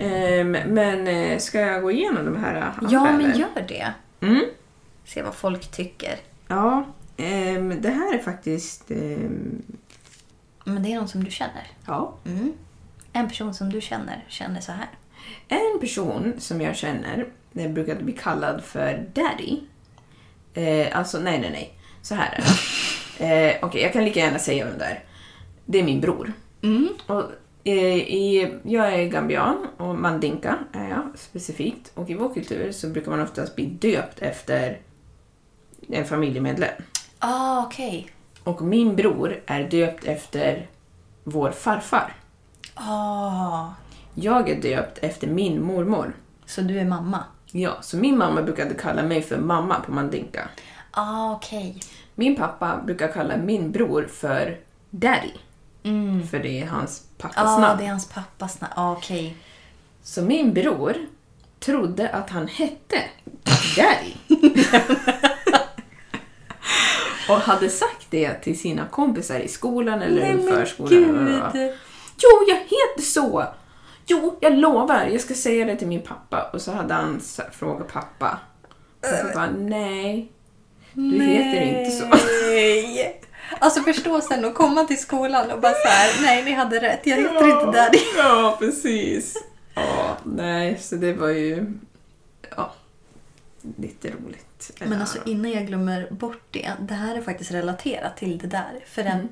[SPEAKER 1] Ehm, men eh, ska jag gå igenom de här? eh,
[SPEAKER 2] Ja,
[SPEAKER 1] affärerna?
[SPEAKER 2] men gör det.
[SPEAKER 1] Mm.
[SPEAKER 2] Se vad folk tycker.
[SPEAKER 1] Ja, ehm, det här är faktiskt... ehm,
[SPEAKER 2] Men det är någon som du känner.
[SPEAKER 1] ja.
[SPEAKER 2] Mm. En person som du känner, känner så här.
[SPEAKER 1] En person som jag känner eh, brukar bli kallad för Daddy. Eh, alltså, nej, nej, nej. Så här är det. Eh, Okej, jag kan lika gärna säga vem det är. Det är min bror. Och, eh, i, jag är gambian och mandinka är jag specifikt. Och i vår kultur så brukar man oftast bli döpt efter en familjemedlem.
[SPEAKER 2] Ah, okej.
[SPEAKER 1] Och min bror är döpt efter vår farfar.
[SPEAKER 2] Ah.
[SPEAKER 1] Jag är döpt efter min mormor.
[SPEAKER 2] Så du är mamma?
[SPEAKER 1] Ja, så min mamma brukade kalla mig för mamma på mandinka.
[SPEAKER 2] Ah, okej.
[SPEAKER 1] Min pappa brukar kalla min bror för daddy. För det är hans pappas
[SPEAKER 2] Ah,
[SPEAKER 1] namn.
[SPEAKER 2] det är hans pappas namn. Ah, okej.
[SPEAKER 1] Så min bror trodde att han hette daddy. Och hade sagt det till sina kompisar i skolan eller i förskolan. eller vad det var. Jo, jag heter så! Jo, jag lovar, jag ska säga det till min pappa. Och så hade han s- frågat pappa. Och pappa bara, nej. Du heter inte så.
[SPEAKER 2] Nej! Alltså förstå sen att komma till skolan och bara så här, nej ni hade rätt, jag heter inte Daddy.
[SPEAKER 1] Ja, precis. Ja, nej, så det var ju... Ja, lite roligt.
[SPEAKER 2] Men alltså innan jag glömmer bort det, det här är faktiskt relaterat till det där. För att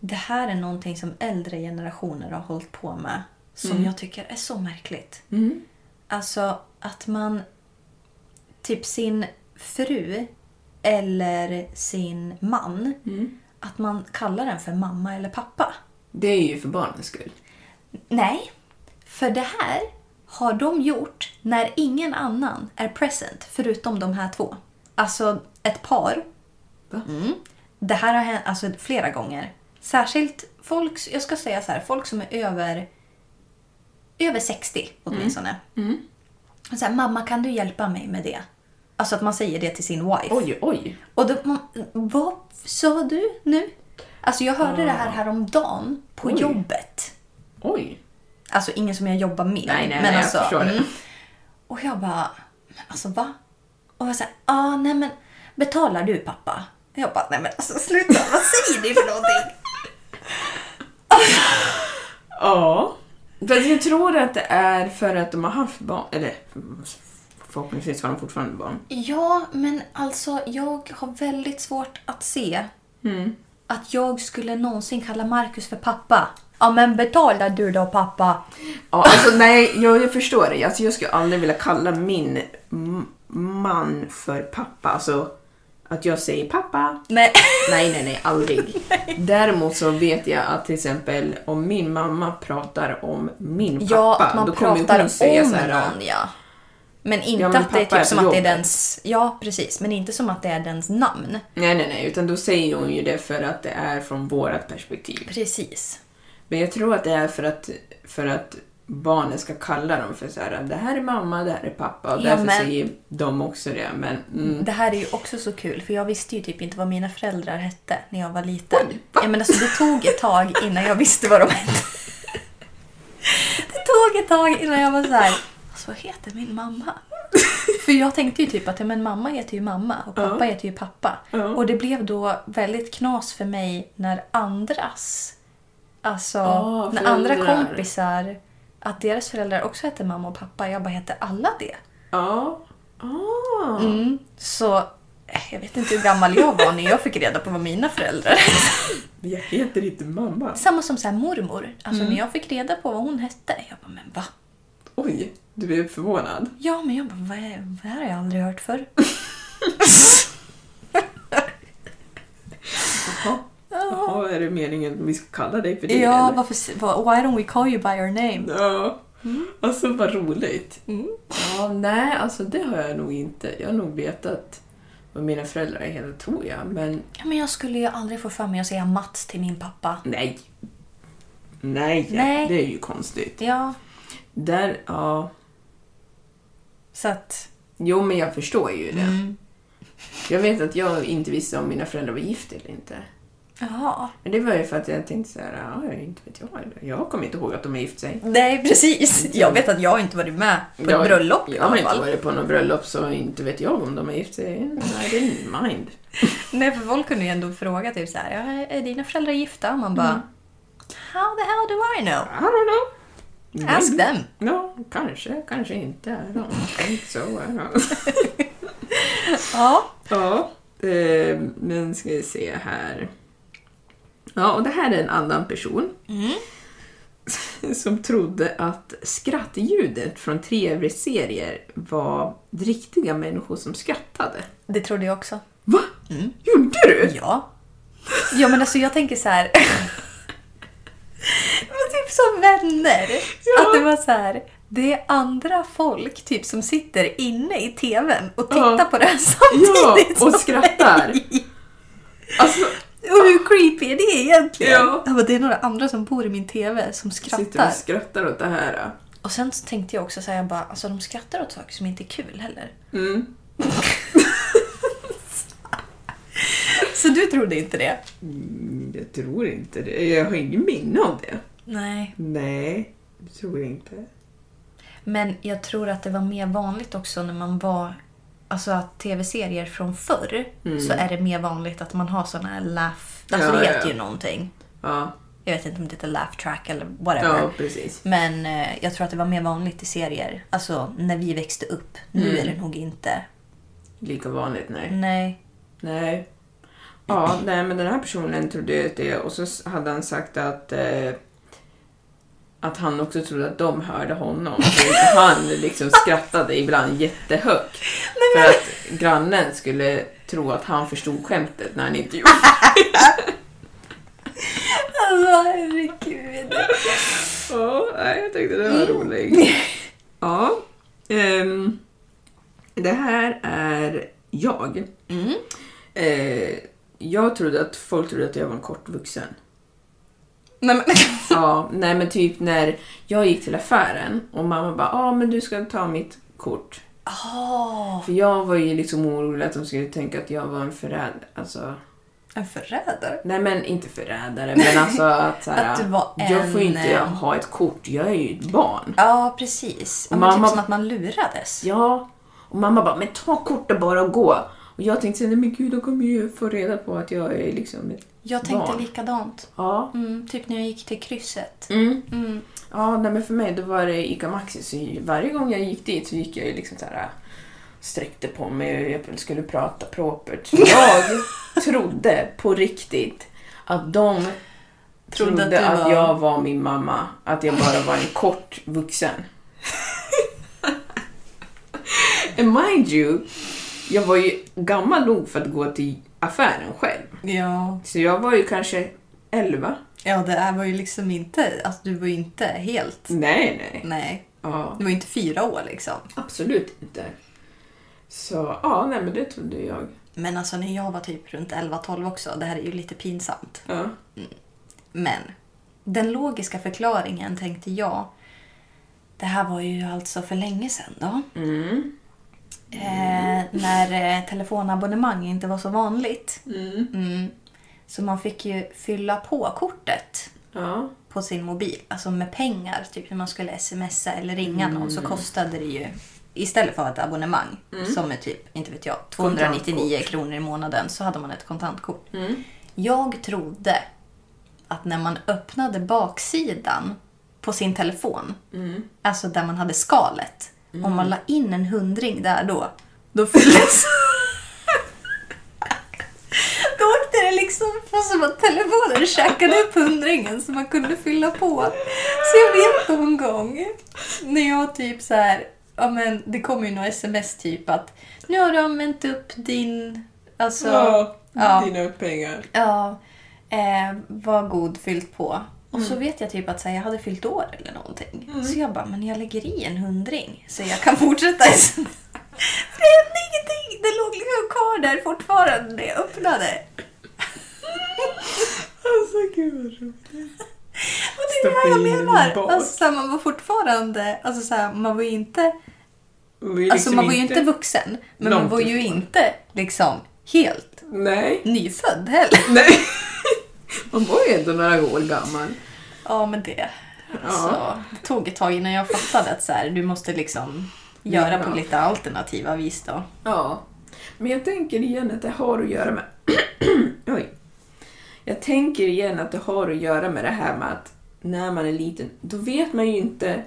[SPEAKER 2] det här är någonting som äldre generationer har hållit på med som jag tycker är så märkligt.
[SPEAKER 1] Mm.
[SPEAKER 2] Alltså att man, typ sin fru eller sin man, att man kallar den för mamma eller pappa.
[SPEAKER 1] Det är ju för barnens skull.
[SPEAKER 2] Nej, för det här har de gjort när ingen annan är present förutom de här två. Alltså ett par.
[SPEAKER 1] Va?
[SPEAKER 2] Mm. Det här har hänt alltså, flera gånger. Särskilt folk, jag ska säga så här, folk som är över, över 60 åtminstone.
[SPEAKER 1] Mm.
[SPEAKER 2] Och Så här, Mamma kan du hjälpa mig med det? Alltså att man säger det till sin wife.
[SPEAKER 1] Oj, oj.
[SPEAKER 2] Och då, man, vad sa du nu? Alltså jag hörde det här häromdagen på
[SPEAKER 1] Ah. Oj.
[SPEAKER 2] jobbet.
[SPEAKER 1] Oj.
[SPEAKER 2] Alltså ingen som jag jobbar med.
[SPEAKER 1] Nej, nej,
[SPEAKER 2] men
[SPEAKER 1] nej,
[SPEAKER 2] alltså,
[SPEAKER 1] jag förstår det.
[SPEAKER 2] Och jag bara, men alltså va? Och jag säger, ah, nej men betalar du pappa? Jag bara, nej men alltså sluta, vad säger du för någonting?
[SPEAKER 1] Ja. Fast jag tror att det är för att de har haft barn. Eller förhoppningsvis har de fortfarande barn.
[SPEAKER 2] Ja, men alltså jag har väldigt svårt att se Mm. att jag skulle någonsin kalla Marcus för pappa. Ja men betalar du då pappa?
[SPEAKER 1] Ja, alltså nej, jag, jag förstår dig. Alltså, jag skulle aldrig vilja kalla min m- man för pappa. Alltså att jag säger pappa.
[SPEAKER 2] Nej.
[SPEAKER 1] Nej, nej, nej, aldrig. Däremot så vet jag att till exempel om min mamma pratar om min pappa,
[SPEAKER 2] Ja, att man
[SPEAKER 1] då kommer
[SPEAKER 2] pratar
[SPEAKER 1] hon säga
[SPEAKER 2] om
[SPEAKER 1] så här,
[SPEAKER 2] någon, ja. Men inte
[SPEAKER 1] men
[SPEAKER 2] att det är
[SPEAKER 1] pappa är
[SPEAKER 2] typ som
[SPEAKER 1] på
[SPEAKER 2] att det är
[SPEAKER 1] jobbet.
[SPEAKER 2] dens... Ja, precis. Men inte som att det är dens namn.
[SPEAKER 1] Nej, nej, nej, utan då säger hon ju det för att det är från vårat perspektiv.
[SPEAKER 2] Precis.
[SPEAKER 1] Men jag tror att det är för att, för att barnen ska kalla dem för så här, det här är mamma, det här är pappa och
[SPEAKER 2] Ja,
[SPEAKER 1] därför
[SPEAKER 2] men-
[SPEAKER 1] säger de också det. Men mm,
[SPEAKER 2] Det här är ju också så kul, för jag visste ju typ inte vad mina föräldrar hette när jag var liten. ja, men alltså, det tog ett tag innan jag visste vad de hette. Det tog ett tag innan jag var så här. Alltså, vad heter min mamma? För jag tänkte ju typ att ja, men mamma heter ju mamma och pappa
[SPEAKER 1] Ja.
[SPEAKER 2] heter ju pappa.
[SPEAKER 1] Ja.
[SPEAKER 2] Och det blev då väldigt knas för mig när andras, alltså
[SPEAKER 1] Ah,
[SPEAKER 2] när andra
[SPEAKER 1] föräldrar.
[SPEAKER 2] kompisar, att deras föräldrar också hette mamma och pappa. Jag bara, hette alla det?
[SPEAKER 1] Ja. Ah.
[SPEAKER 2] Mm. Så eh, jag vet inte hur gammal jag var när jag fick reda på vad mina föräldrar
[SPEAKER 1] Men jag heter inte mamma.
[SPEAKER 2] Samma som så här mormor. Alltså
[SPEAKER 1] Mm.
[SPEAKER 2] när jag fick reda på vad hon hette. Jag bara, men va?
[SPEAKER 1] Oj, du blev förvånad.
[SPEAKER 2] Ja, men jag bara, vad är, vad här har jag aldrig hört förr?
[SPEAKER 1] Jaha. Jaha, är det meningen att vi ska kalla dig för det?
[SPEAKER 2] Ah. Ja,
[SPEAKER 1] eller?
[SPEAKER 2] varför, s- vad- why don't we call you by your name?
[SPEAKER 1] ja. Alltså vad roligt.
[SPEAKER 2] Mm.
[SPEAKER 1] Ja, nej, alltså det har jag nog inte. Jag har nog vetat vad mina föräldrar är hela tror jag, men
[SPEAKER 2] Ja, men jag skulle ju aldrig få för mig att säga Mats till min pappa.
[SPEAKER 1] nej. Nej,
[SPEAKER 2] Nej.
[SPEAKER 1] det är ju konstigt.
[SPEAKER 2] Ja,
[SPEAKER 1] Där, ja.
[SPEAKER 2] så att...
[SPEAKER 1] Jo, men jag förstår ju det.
[SPEAKER 2] Mm.
[SPEAKER 1] Jag vet att jag inte visste om mina föräldrar var gifta eller inte.
[SPEAKER 2] Jaha.
[SPEAKER 1] Men det var ju för att jag tänkte så här, ja, inte vet jag. Jag kommer inte ihåg att de har gift sig.
[SPEAKER 2] Nej, precis. Jag vet att jag inte varit med på
[SPEAKER 1] Jag-
[SPEAKER 2] ett bröllop i
[SPEAKER 1] Jag har
[SPEAKER 2] alla
[SPEAKER 1] inte
[SPEAKER 2] fall.
[SPEAKER 1] varit på något bröllop så inte vet jag om de har gift sig. Nej, det är mind.
[SPEAKER 2] Nej, för folk kunde ju ändå fråga typ så här, "Ja, är dina föräldrar gifta? Och man bara,
[SPEAKER 1] Mm.
[SPEAKER 2] how the hell do I know?
[SPEAKER 1] I don't know.
[SPEAKER 2] Ask
[SPEAKER 1] Maybe.
[SPEAKER 2] them.
[SPEAKER 1] Ja, kanske, kanske inte. I don't think so. I don't.
[SPEAKER 2] Ja.
[SPEAKER 1] ja, eh, men ska vi se här. Ja, och det här är en annan person
[SPEAKER 2] Mm.
[SPEAKER 1] som trodde att skrattljudet från tv-serier var riktiga människor som skrattade.
[SPEAKER 2] Det trodde jag också.
[SPEAKER 1] Va? Gjorde du?
[SPEAKER 2] Ja. Ja men alltså jag tänker så här. Men typ som vänner.
[SPEAKER 1] Ja.
[SPEAKER 2] Att det var så här. Det är andra folk typ som sitter inne i tvn och
[SPEAKER 1] Ja.
[SPEAKER 2] tittar på det här samtidigt
[SPEAKER 1] Ja, och
[SPEAKER 2] som
[SPEAKER 1] skrattar.
[SPEAKER 2] mig.
[SPEAKER 1] Alltså,
[SPEAKER 2] Och hur creepy är det egentligen?
[SPEAKER 1] Ja.
[SPEAKER 2] Jag bara, det är några andra som bor i min tv som
[SPEAKER 1] sitter
[SPEAKER 2] skrattar.
[SPEAKER 1] och skrattar åt det här.
[SPEAKER 2] Och sen så tänkte jag också säga bara, alltså de skrattar åt saker som inte är kul heller.
[SPEAKER 1] då. Mm.
[SPEAKER 2] Så du trodde inte det?
[SPEAKER 1] Mm, Jag tror inte det. Jag har ingen minne av det.
[SPEAKER 2] Nej.
[SPEAKER 1] Nej, det tror jag inte.
[SPEAKER 2] Men jag tror att det var mer vanligt också när man var... Alltså att tv-serier från förr så är det mer vanligt att man har såna här laugh... Alltså
[SPEAKER 1] Mm. Ja,
[SPEAKER 2] det
[SPEAKER 1] ja,
[SPEAKER 2] heter
[SPEAKER 1] ja.
[SPEAKER 2] ju någonting.
[SPEAKER 1] Ja,
[SPEAKER 2] Jag vet inte om det heter laugh track eller whatever.
[SPEAKER 1] ja precis.
[SPEAKER 2] Men eh, jag tror att det var mer vanligt i serier. Alltså när vi växte upp. Nu är det nog inte.
[SPEAKER 1] Lika vanligt, Mm. nej.
[SPEAKER 2] Nej.
[SPEAKER 1] Nej. Ja, nej, men den här personen trodde att det och så s- hade han sagt att eh, att han också trodde att de hörde honom. Så Han liksom skrattade ibland jättehögt för att grannen skulle tro att han förstod skämtet när han inte gjorde det.
[SPEAKER 2] Alltså herregud.
[SPEAKER 1] Ja, nej, jag tyckte det
[SPEAKER 2] Mm.
[SPEAKER 1] var roligt. Ja. ehm, det här är jag.
[SPEAKER 2] Mm.
[SPEAKER 1] Eh, jag trodde att folk trodde att jag var en kortvuxen.
[SPEAKER 2] Nej, men...
[SPEAKER 1] Ja, nej men typ när jag gick till affären och mamma bara ja ah, men du ska ta mitt kort.
[SPEAKER 2] Ah,
[SPEAKER 1] För jag var ju liksom orolig att de skulle tänka att jag var en förrädare. Alltså,
[SPEAKER 2] en förrädare.
[SPEAKER 1] nej men inte förrädare men alltså att, så här,
[SPEAKER 2] Att du var
[SPEAKER 1] jag får ju
[SPEAKER 2] en,
[SPEAKER 1] inte
[SPEAKER 2] eh,
[SPEAKER 1] ha ett kort, jag är ju ett barn.
[SPEAKER 2] Ja, precis. Ja, men
[SPEAKER 1] Mamma-
[SPEAKER 2] Typ som att man lurades.
[SPEAKER 1] Ja, och mamma bara men ta kortet bara och gå. Och jag tänkte såhär, nej men gud de kommer ju få reda på att jag är liksom ett
[SPEAKER 2] Jag tänkte
[SPEAKER 1] barn.
[SPEAKER 2] likadant.
[SPEAKER 1] Ja.
[SPEAKER 2] Mm, typ när jag gick till krysset.
[SPEAKER 1] Mm.
[SPEAKER 2] Mm.
[SPEAKER 1] Ja, nej, men för mig då var det ICA Maxi, så varje gång jag gick dit så gick jag ju liksom så här sträckte på mig och jag skulle prata propert. Så Jag trodde på riktigt att de
[SPEAKER 2] Trodde
[SPEAKER 1] trodde,
[SPEAKER 2] att du
[SPEAKER 1] att,
[SPEAKER 2] var-
[SPEAKER 1] jag var min mamma, att jag bara var en kort vuxen. And mind you, jag var ju gammal nog för att gå till affären själv.
[SPEAKER 2] Ja.
[SPEAKER 1] Så jag var ju kanske 11.
[SPEAKER 2] ja, det här var ju liksom inte... Alltså du var ju inte helt...
[SPEAKER 1] Nej, nej.
[SPEAKER 2] Nej.
[SPEAKER 1] Ja.
[SPEAKER 2] Du var ju inte fyra år liksom.
[SPEAKER 1] Absolut inte. Så ja, nej men det trodde jag.
[SPEAKER 2] Men alltså när jag var typ runt 11-12 också, det här är ju lite pinsamt.
[SPEAKER 1] Ja.
[SPEAKER 2] Men den logiska förklaringen tänkte jag, det här var ju alltså för länge sedan då.
[SPEAKER 1] Mm.
[SPEAKER 2] Eh, när eh, telefonabonnemang inte var så vanligt.
[SPEAKER 1] Mm.
[SPEAKER 2] Mm. Så man fick ju fylla på kortet
[SPEAKER 1] Ja.
[SPEAKER 2] på sin mobil, alltså med pengar, typ när man skulle smsa eller ringa någon så kostade det ju istället för att ha ett abonnemang som är typ, inte vet jag, 299 kronor i månaden så hade man ett kontantkort. Jag trodde att när man öppnade baksidan på sin telefon, alltså där man hade skalet, om man la in en hundring där då, då fylldes... då åkte det liksom på som att telefonen käkade upp hundringen så man kunde fylla på. Så jag vet någon gång när jag typ så här, ja men det kom ju några sms typ att nu har du använt upp din, alltså,
[SPEAKER 1] Ja,
[SPEAKER 2] ja.
[SPEAKER 1] dina pengar.
[SPEAKER 2] Ja, eh, var god fyllt på. Och så
[SPEAKER 1] Mm.
[SPEAKER 2] vet jag typ att så här, jag hade fyllt år eller någonting. Så jag bara, men jag lägger i en hundring så jag kan fortsätta. För det hände ingenting! Det låg liksom kvar där fortfarande när jag öppnade.
[SPEAKER 1] Alltså gud vad roligt.
[SPEAKER 2] Och det är det här jag
[SPEAKER 1] Stoppa i en
[SPEAKER 2] menar.
[SPEAKER 1] bak.
[SPEAKER 2] Alltså, så här, man var fortfarande, alltså så här, man var ju inte,
[SPEAKER 1] Man vill
[SPEAKER 2] alltså
[SPEAKER 1] liksom
[SPEAKER 2] man var ju inte vuxen. Men man
[SPEAKER 1] långt
[SPEAKER 2] var ju
[SPEAKER 1] ifrån.
[SPEAKER 2] inte liksom helt
[SPEAKER 1] Nej.
[SPEAKER 2] nyfödd heller.
[SPEAKER 1] Nej. Man var ju ändå några år gammal.
[SPEAKER 2] Ja, men det. Så, det tog ett tag innan jag fattade att så här, du måste liksom göra på lite alternativa vis då.
[SPEAKER 1] Ja. Men jag tänker igen att det har att göra med... Oj. Jag tänker igen att det har att göra med det här med att när man är liten, då vet man ju inte...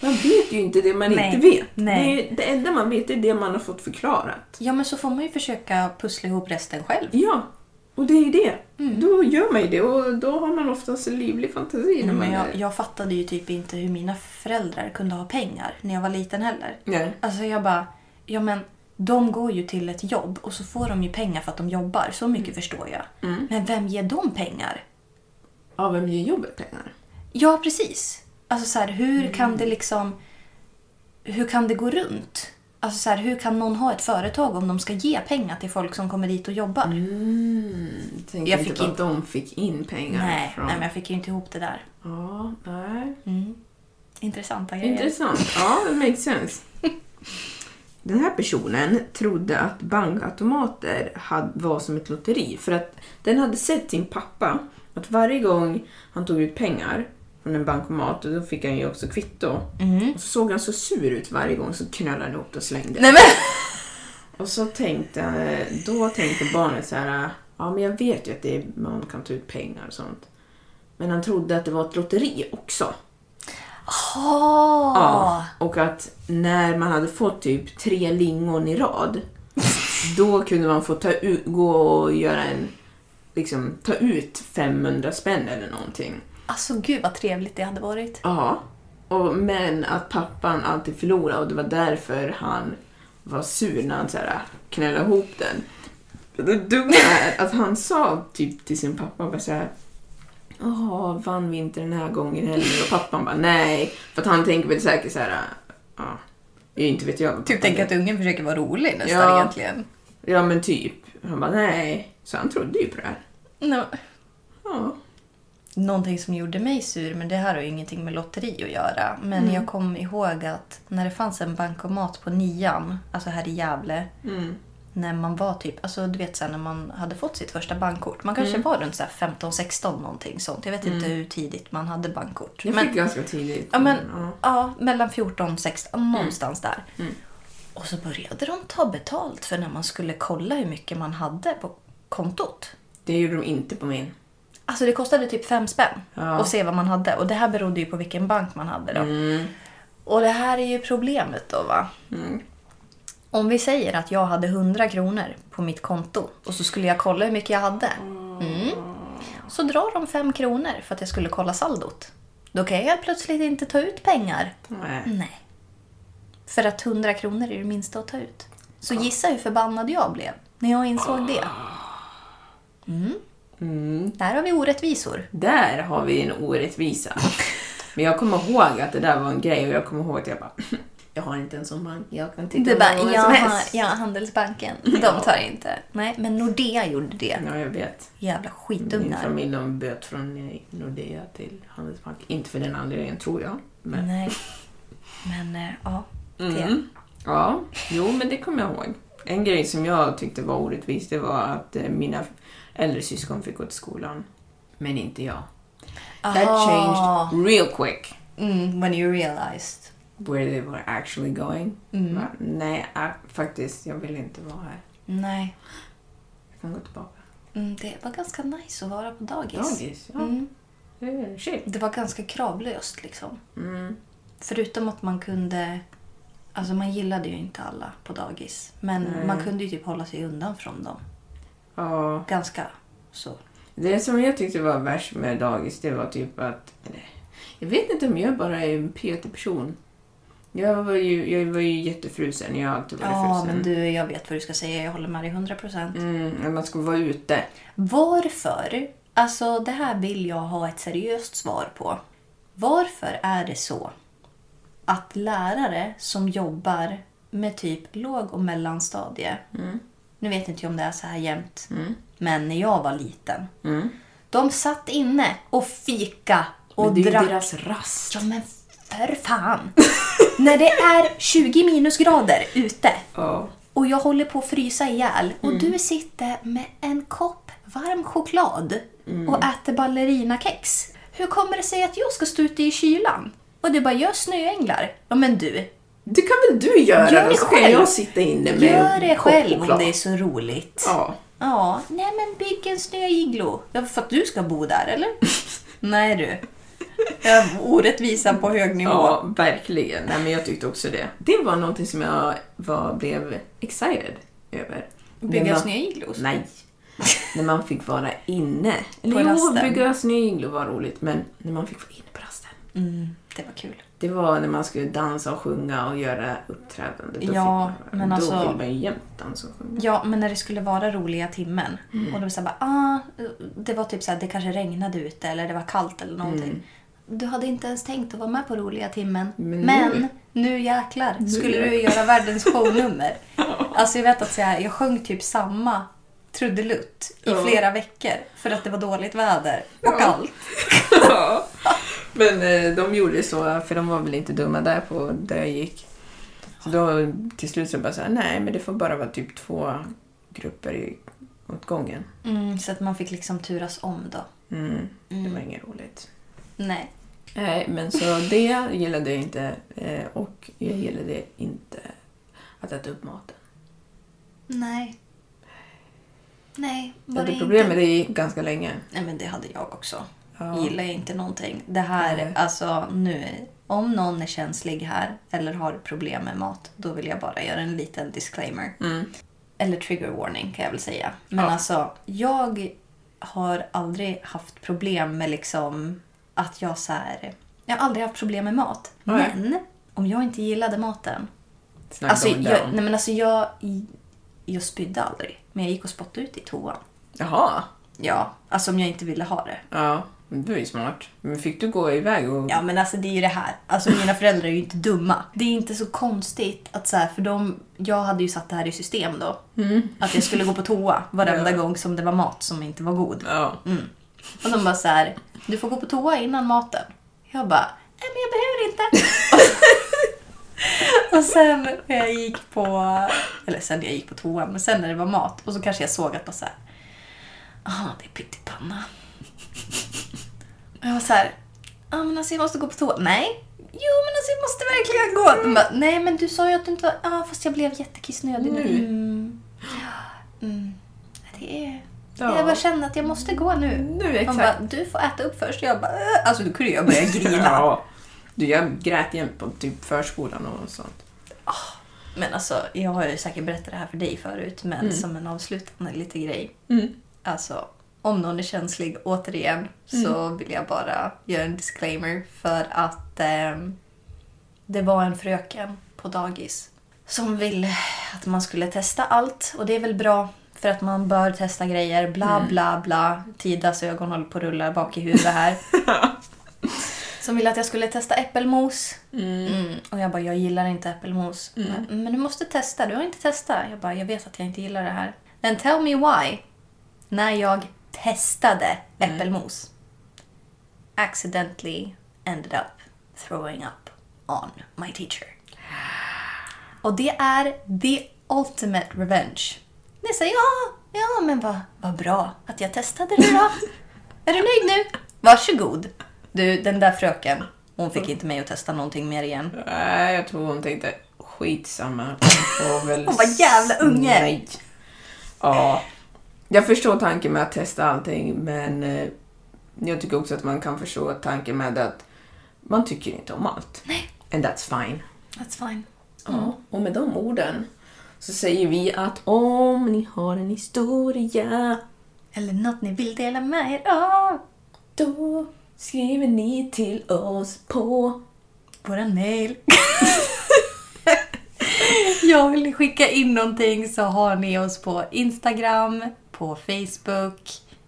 [SPEAKER 1] Man vet ju inte det man
[SPEAKER 2] Nej.
[SPEAKER 1] inte vet.
[SPEAKER 2] Nej.
[SPEAKER 1] Det, är, det enda man vet är det man har fått förklarat.
[SPEAKER 2] Ja, men så får man ju försöka pussla ihop resten själv.
[SPEAKER 1] Ja, och det är ju det. Då gör man ju det och då har man oftast en livlig fantasi. När man
[SPEAKER 2] Men jag,
[SPEAKER 1] är...
[SPEAKER 2] jag fattade ju typ inte hur mina föräldrar kunde ha pengar när jag var liten heller.
[SPEAKER 1] Nej.
[SPEAKER 2] Alltså jag bara, ja men de går ju till ett jobb och så får de ju pengar för att de jobbar. Så mycket förstår jag. Men vem ger dem pengar?
[SPEAKER 1] Ja, vem ger jobbet pengar?
[SPEAKER 2] Ja, precis. Alltså så här, hur kan det liksom... Hur kan det gå runt? Alltså så här, hur kan någon ha ett företag om de ska ge pengar till folk som kommer dit och jobbar?
[SPEAKER 1] Tänker
[SPEAKER 2] Jag
[SPEAKER 1] inte
[SPEAKER 2] fick
[SPEAKER 1] på
[SPEAKER 2] in-
[SPEAKER 1] att de fick in pengar
[SPEAKER 2] Nej,
[SPEAKER 1] från...
[SPEAKER 2] nej, men jag fick ju inte ihop det där.
[SPEAKER 1] Ja, nej.
[SPEAKER 2] Intressanta
[SPEAKER 1] Eh.
[SPEAKER 2] grejer.
[SPEAKER 1] Intressant. Ja, det makes sense. Den här personen trodde att bankautomater had- var som ett lotteri för att den hade sett sin pappa att varje gång han tog ut pengar från en bankomat, och då fick han ju också kvitto, och så såg han så sur ut varje gång så knöllade han ihop det och slängde.
[SPEAKER 2] nej men!
[SPEAKER 1] Och så tänkte, då tänkte barnet så här, ja men jag vet ju att det är, man kan ta ut pengar och sånt. Men han trodde att det var ett lotteri också.
[SPEAKER 2] Åh!
[SPEAKER 1] Ja, och att när man hade fått typ tre lingon i rad, då kunde man få ta ut, gå och göra en, liksom ta ut 500 spänn eller någonting.
[SPEAKER 2] Alltså gud vad trevligt det hade varit.
[SPEAKER 1] Ja, och, men att pappan alltid förlorade och det var därför han var sur när han så här, knällade ihop den. Det dumma är att han sa typ till sin pappa bara så här. Jaha, vann vi inte den här gången heller? Och pappan bara nej. För att han tänker väl säkert så här. Ja, inte vet jag. vad
[SPEAKER 2] Typ
[SPEAKER 1] pappan
[SPEAKER 2] tänk
[SPEAKER 1] gör."
[SPEAKER 2] att ungen försöker vara rolig nästan
[SPEAKER 1] Ja.
[SPEAKER 2] egentligen.
[SPEAKER 1] Ja, men typ. Han bara nej. Så han trodde ju på det här.
[SPEAKER 2] No.
[SPEAKER 1] Ja.
[SPEAKER 2] Någonting som gjorde mig sur, men det här har ju ingenting med lotteri att göra. Men
[SPEAKER 1] Mm.
[SPEAKER 2] jag kom ihåg att när det fanns en bankomat på nian, alltså här i Gävle,
[SPEAKER 1] Mm.
[SPEAKER 2] när man var typ, alltså du vet så här, när man hade fått sitt första bankkort. Man
[SPEAKER 1] Mm.
[SPEAKER 2] kanske var runt så här 15, 16 någonting sånt. Jag vet inte hur tidigt man hade bankkort.
[SPEAKER 1] Jag
[SPEAKER 2] Men-
[SPEAKER 1] fick ganska tidigt.
[SPEAKER 2] Ja, men,
[SPEAKER 1] ja. Mm.
[SPEAKER 2] ja, mellan 14 och 16, någonstans där. Och så började de ta betalt för när man skulle kolla hur mycket man hade på kontot.
[SPEAKER 1] Det gjorde de inte på min.
[SPEAKER 2] Alltså det kostade typ fem spänn
[SPEAKER 1] Ja.
[SPEAKER 2] att se vad man hade. Och det här berodde ju på vilken bank man hade då. Och det här är ju problemet då va. Om vi säger att jag hade 100 kronor på mitt konto och så skulle jag kolla hur mycket jag hade. Mm. Så drar de 5 kronor för att jag skulle kolla saldot. Då kan jag helt plötsligt inte ta ut pengar.
[SPEAKER 1] Nej.
[SPEAKER 2] Nej. För att 100 kronor är det minsta att ta ut. Så gissa hur förbannad jag blev när jag insåg det.
[SPEAKER 1] Ah.
[SPEAKER 2] Mm. Där har vi orättvisor.
[SPEAKER 1] Där har vi en orättvisa. Men jag kommer ihåg att det där var en grej och jag kommer ihåg att jag bara Jag har inte en sån bank, jag kan titta
[SPEAKER 2] Du bara,
[SPEAKER 1] på vad
[SPEAKER 2] jag
[SPEAKER 1] som
[SPEAKER 2] har,
[SPEAKER 1] helst.
[SPEAKER 2] jag har Handelsbanken. De tar inte. Nej, men Nordea gjorde det.
[SPEAKER 1] Ja, jag vet.
[SPEAKER 2] Jävla
[SPEAKER 1] Min
[SPEAKER 2] skitungar.
[SPEAKER 1] familj de böt från eh, Nordea till Handelsbanken. Inte för den anledningen, tror jag. Men,
[SPEAKER 2] Nej. Men eh, ja, det.
[SPEAKER 1] Mm. ja, jo, men det kommer jag ihåg. En grej som jag tyckte var orättvis, det var att eh, mina äldre syskon fick gå till skolan, men inte jag. That
[SPEAKER 2] Aha.
[SPEAKER 1] changed real quick.
[SPEAKER 2] Mm, when you realized
[SPEAKER 1] where they were actually going.
[SPEAKER 2] Mm.
[SPEAKER 1] Va? Nej, ah, faktiskt, jag vill inte vara här.
[SPEAKER 2] Nej.
[SPEAKER 1] Jag kan gå tillbaka.
[SPEAKER 2] Mm, det var ganska nice att vara på dagis.
[SPEAKER 1] Dagis, ja.
[SPEAKER 2] Mm.
[SPEAKER 1] Det är shit.
[SPEAKER 2] Det var ganska kravlöst liksom.
[SPEAKER 1] Mm.
[SPEAKER 2] Förutom att man kunde... Alltså man gillade ju inte alla på dagis. Men
[SPEAKER 1] Nej.
[SPEAKER 2] man kunde ju typ hålla sig undan från dem.
[SPEAKER 1] Ja.
[SPEAKER 2] Ganska så.
[SPEAKER 1] Det som jag tyckte var värst med dagis, det var typ att... eller, Jag vet inte om jag bara är en PT-person. Jag var ju, jag var ju jättefrusen. Jag har alltid varit
[SPEAKER 2] Ja,
[SPEAKER 1] frusen.
[SPEAKER 2] men du, jag vet vad du ska säga. Jag håller med dig 100 procent.
[SPEAKER 1] Mm, att man skulle vara ute.
[SPEAKER 2] Varför? Alltså, det här vill jag ha ett seriöst svar på. Varför är det så att lärare som jobbar med typ låg och mellanstadie,
[SPEAKER 1] Mm.
[SPEAKER 2] nu vet inte jag om det är så här jämt, men när jag var liten, de satt inne och fika och
[SPEAKER 1] Mm. Men det är ju
[SPEAKER 2] drack
[SPEAKER 1] deras rast.
[SPEAKER 2] Ja men för fan! När det är 20 minusgrader ute
[SPEAKER 1] Ja.
[SPEAKER 2] och jag håller på att frysa ihjäl och
[SPEAKER 1] Mm.
[SPEAKER 2] du sitter med en kopp varm choklad
[SPEAKER 1] Mm.
[SPEAKER 2] och äter ballerinakex. Hur kommer det sig att jag ska stå ute i kylan? Och du bara, gör snöänglar. Ja men du,
[SPEAKER 1] Det kan väl du göra?
[SPEAKER 2] Gör
[SPEAKER 1] då
[SPEAKER 2] det
[SPEAKER 1] ska
[SPEAKER 2] själv.
[SPEAKER 1] jag sitta inne med
[SPEAKER 2] gör det
[SPEAKER 1] en kopp
[SPEAKER 2] själv om
[SPEAKER 1] choklad.
[SPEAKER 2] det är så roligt.
[SPEAKER 1] Ja.
[SPEAKER 2] Ja, nej men bygg en snöiglo. Ja, för att du ska bo där eller? nej du. Jag orättvisan på hög nivå.
[SPEAKER 1] ja, verkligen. Nej, men jag tyckte också det. Det var någonting som jag var, blev excited över. När
[SPEAKER 2] Bygga
[SPEAKER 1] man-
[SPEAKER 2] snöiglos?
[SPEAKER 1] Nej. när man fick vara inne.
[SPEAKER 2] På
[SPEAKER 1] Eller jo,
[SPEAKER 2] rasten.
[SPEAKER 1] bygga snöiglor var roligt, men när man fick vara inne på rasten.
[SPEAKER 2] Mm, det var kul.
[SPEAKER 1] Det var när man skulle dansa och sjunga och göra uppträdande. Då
[SPEAKER 2] Ja,
[SPEAKER 1] fick man,
[SPEAKER 2] men
[SPEAKER 1] då
[SPEAKER 2] alltså-
[SPEAKER 1] vill man ju jämt dansa och sjunga.
[SPEAKER 2] Ja, men när det skulle vara roliga timmen
[SPEAKER 1] Mm.
[SPEAKER 2] och de så här bara, ah, det var typ så här, det kanske regnade ute eller det var kallt eller någonting. Du hade inte ens tänkt att vara med på roliga timmen. Men
[SPEAKER 1] Mm. Men
[SPEAKER 2] nu,
[SPEAKER 1] nu-
[SPEAKER 2] jäklar skulle
[SPEAKER 1] jäklar.
[SPEAKER 2] du göra världens shownummer. alltså jag vet att så här, jag sjöng typ samma trudelutt i
[SPEAKER 1] Ja.
[SPEAKER 2] flera veckor för att det var dåligt väder och kallt.
[SPEAKER 1] Ja. Men eh, de gjorde så, för de var väl inte dumma där på där jag gick. Så då till slut så bara så här, nej men det får bara vara typ två grupper i, åt gången.
[SPEAKER 2] Mm, så att man fick liksom turas om då.
[SPEAKER 1] Mm. Det var inget roligt.
[SPEAKER 2] Nej.
[SPEAKER 1] Nej, men så det gillade jag inte eh, och jag gillade inte att äta upp maten.
[SPEAKER 2] Nej. Nej,
[SPEAKER 1] Jag
[SPEAKER 2] var det
[SPEAKER 1] hade
[SPEAKER 2] inte...
[SPEAKER 1] problem med det i ganska länge.
[SPEAKER 2] Nej men det hade jag också.
[SPEAKER 1] Ja.
[SPEAKER 2] Gillar jag inte någonting. Det här,
[SPEAKER 1] Nej.
[SPEAKER 2] alltså nu. Om någon är känslig här eller har problem med mat, då vill jag bara göra en liten disclaimer. Eller trigger warning kan jag väl säga. Men
[SPEAKER 1] Mm. Ja.
[SPEAKER 2] alltså, jag har aldrig haft problem med liksom att jag så här. Jag har aldrig haft problem med mat.
[SPEAKER 1] Nej.
[SPEAKER 2] Men om jag inte gillade maten.
[SPEAKER 1] Snacka
[SPEAKER 2] Alltså,
[SPEAKER 1] om
[SPEAKER 2] jag,
[SPEAKER 1] dem.
[SPEAKER 2] nej men alltså jag, jag spydde aldrig. Men jag gick och spottade ut i toan.
[SPEAKER 1] Jaha.
[SPEAKER 2] Ja, alltså om jag inte ville ha det.
[SPEAKER 1] Ja, men du är ju smart. Men fick du gå iväg och...
[SPEAKER 2] Ja men alltså det är ju det här. Alltså mina föräldrar är ju inte dumma. Det är inte så konstigt att så här, för de, jag hade ju satt det här i system då. Att jag skulle gå på toa varenda
[SPEAKER 1] Mm. Ja.
[SPEAKER 2] gång som det var mat som inte var god.
[SPEAKER 1] Ja.
[SPEAKER 2] Och de bara så här, du får gå på toa innan maten. Jag bara, nej men jag behöver inte. Och så- och sen när jag gick på, eller sen när jag gick på toa, men sen när det var mat och så kanske jag såg att bara så här, ah det är pyttipanna. Och jag var så här, ja men alltså jag måste gå på toa. Nej. Jo men alltså jag måste verkligen gå. De bara, nej men du sa ju att du inte var, ja ah, fast jag blev jättekissnödig nu.
[SPEAKER 1] Nu.
[SPEAKER 2] Mm. Mm. Det är...
[SPEAKER 1] Ja.
[SPEAKER 2] Jag bara känner att jag måste gå nu.
[SPEAKER 1] Nu,
[SPEAKER 2] Hon
[SPEAKER 1] exakt.
[SPEAKER 2] bara, du får äta upp först. Jag bara, "Äh." alltså då kunde jag börja grina.
[SPEAKER 1] Ja. Du, jag grät jämt på typ förskolan och sånt.
[SPEAKER 2] Men alltså, jag har ju säkert berättat det här för dig förut, men som en avslutande lite grej. Alltså, om någon är känslig, återigen, så vill jag bara göra en disclaimer för att ehm, det var en fröken på dagis som ville att man skulle testa allt och det är väl bra för att man bör testa grejer, bla bla bla. Tidas ögon håller på att rulla bak i huvudet här. som ville att jag skulle testa äppelmos. Mm. Och jag bara, jag gillar inte äppelmos. Men, men du måste testa, du har inte testat. Jag bara, jag vet att jag inte gillar det här. Then tell me why. När jag testade äppelmos. Accidentally ended up throwing up on my teacher. Och det är the ultimate revenge. Ni säger ja, ja men vad vad bra att jag testade det då. är du nöjd nu? Varsågod. Du, den där fröken. Hon fick inte mig att testa någonting mer igen.
[SPEAKER 1] Nej, jag tror hon tänkte skitsamma. Hon får väl...
[SPEAKER 2] Hon var jävla unge.
[SPEAKER 1] Nej. Ja. Jag förstår tanken med att testa allting, men eh, jag tycker också att man kan förstå tanken med att man tycker inte om allt.
[SPEAKER 2] Nej.
[SPEAKER 1] And that's fine.
[SPEAKER 2] That's fine.
[SPEAKER 1] Ja, och med de orden så säger vi att om ni har en historia
[SPEAKER 2] Eller något ni vill dela med er av.
[SPEAKER 1] då skriver ni till oss på...
[SPEAKER 2] Våran mail. Jag vill skicka in någonting så har ni oss på Instagram, på Facebook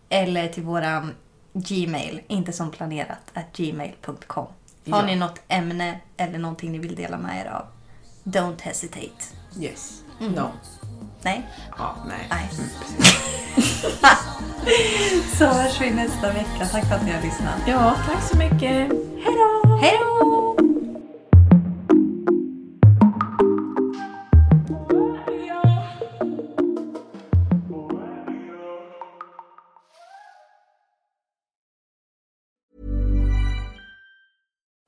[SPEAKER 2] eller till våran Gmail, inte som planerat, at gmail.com. Har
[SPEAKER 1] Ja.
[SPEAKER 2] ni något ämne eller någonting ni vill dela med er av? Don't hesitate.
[SPEAKER 1] Yes. No.
[SPEAKER 2] Nej,
[SPEAKER 1] Ja, nej.
[SPEAKER 2] Nej.
[SPEAKER 1] Mm, precis.
[SPEAKER 2] så hörs vi nästa vecka. Tack för att ni har lyssnat.
[SPEAKER 1] ja, tack så mycket. Hej då!
[SPEAKER 2] Hej då!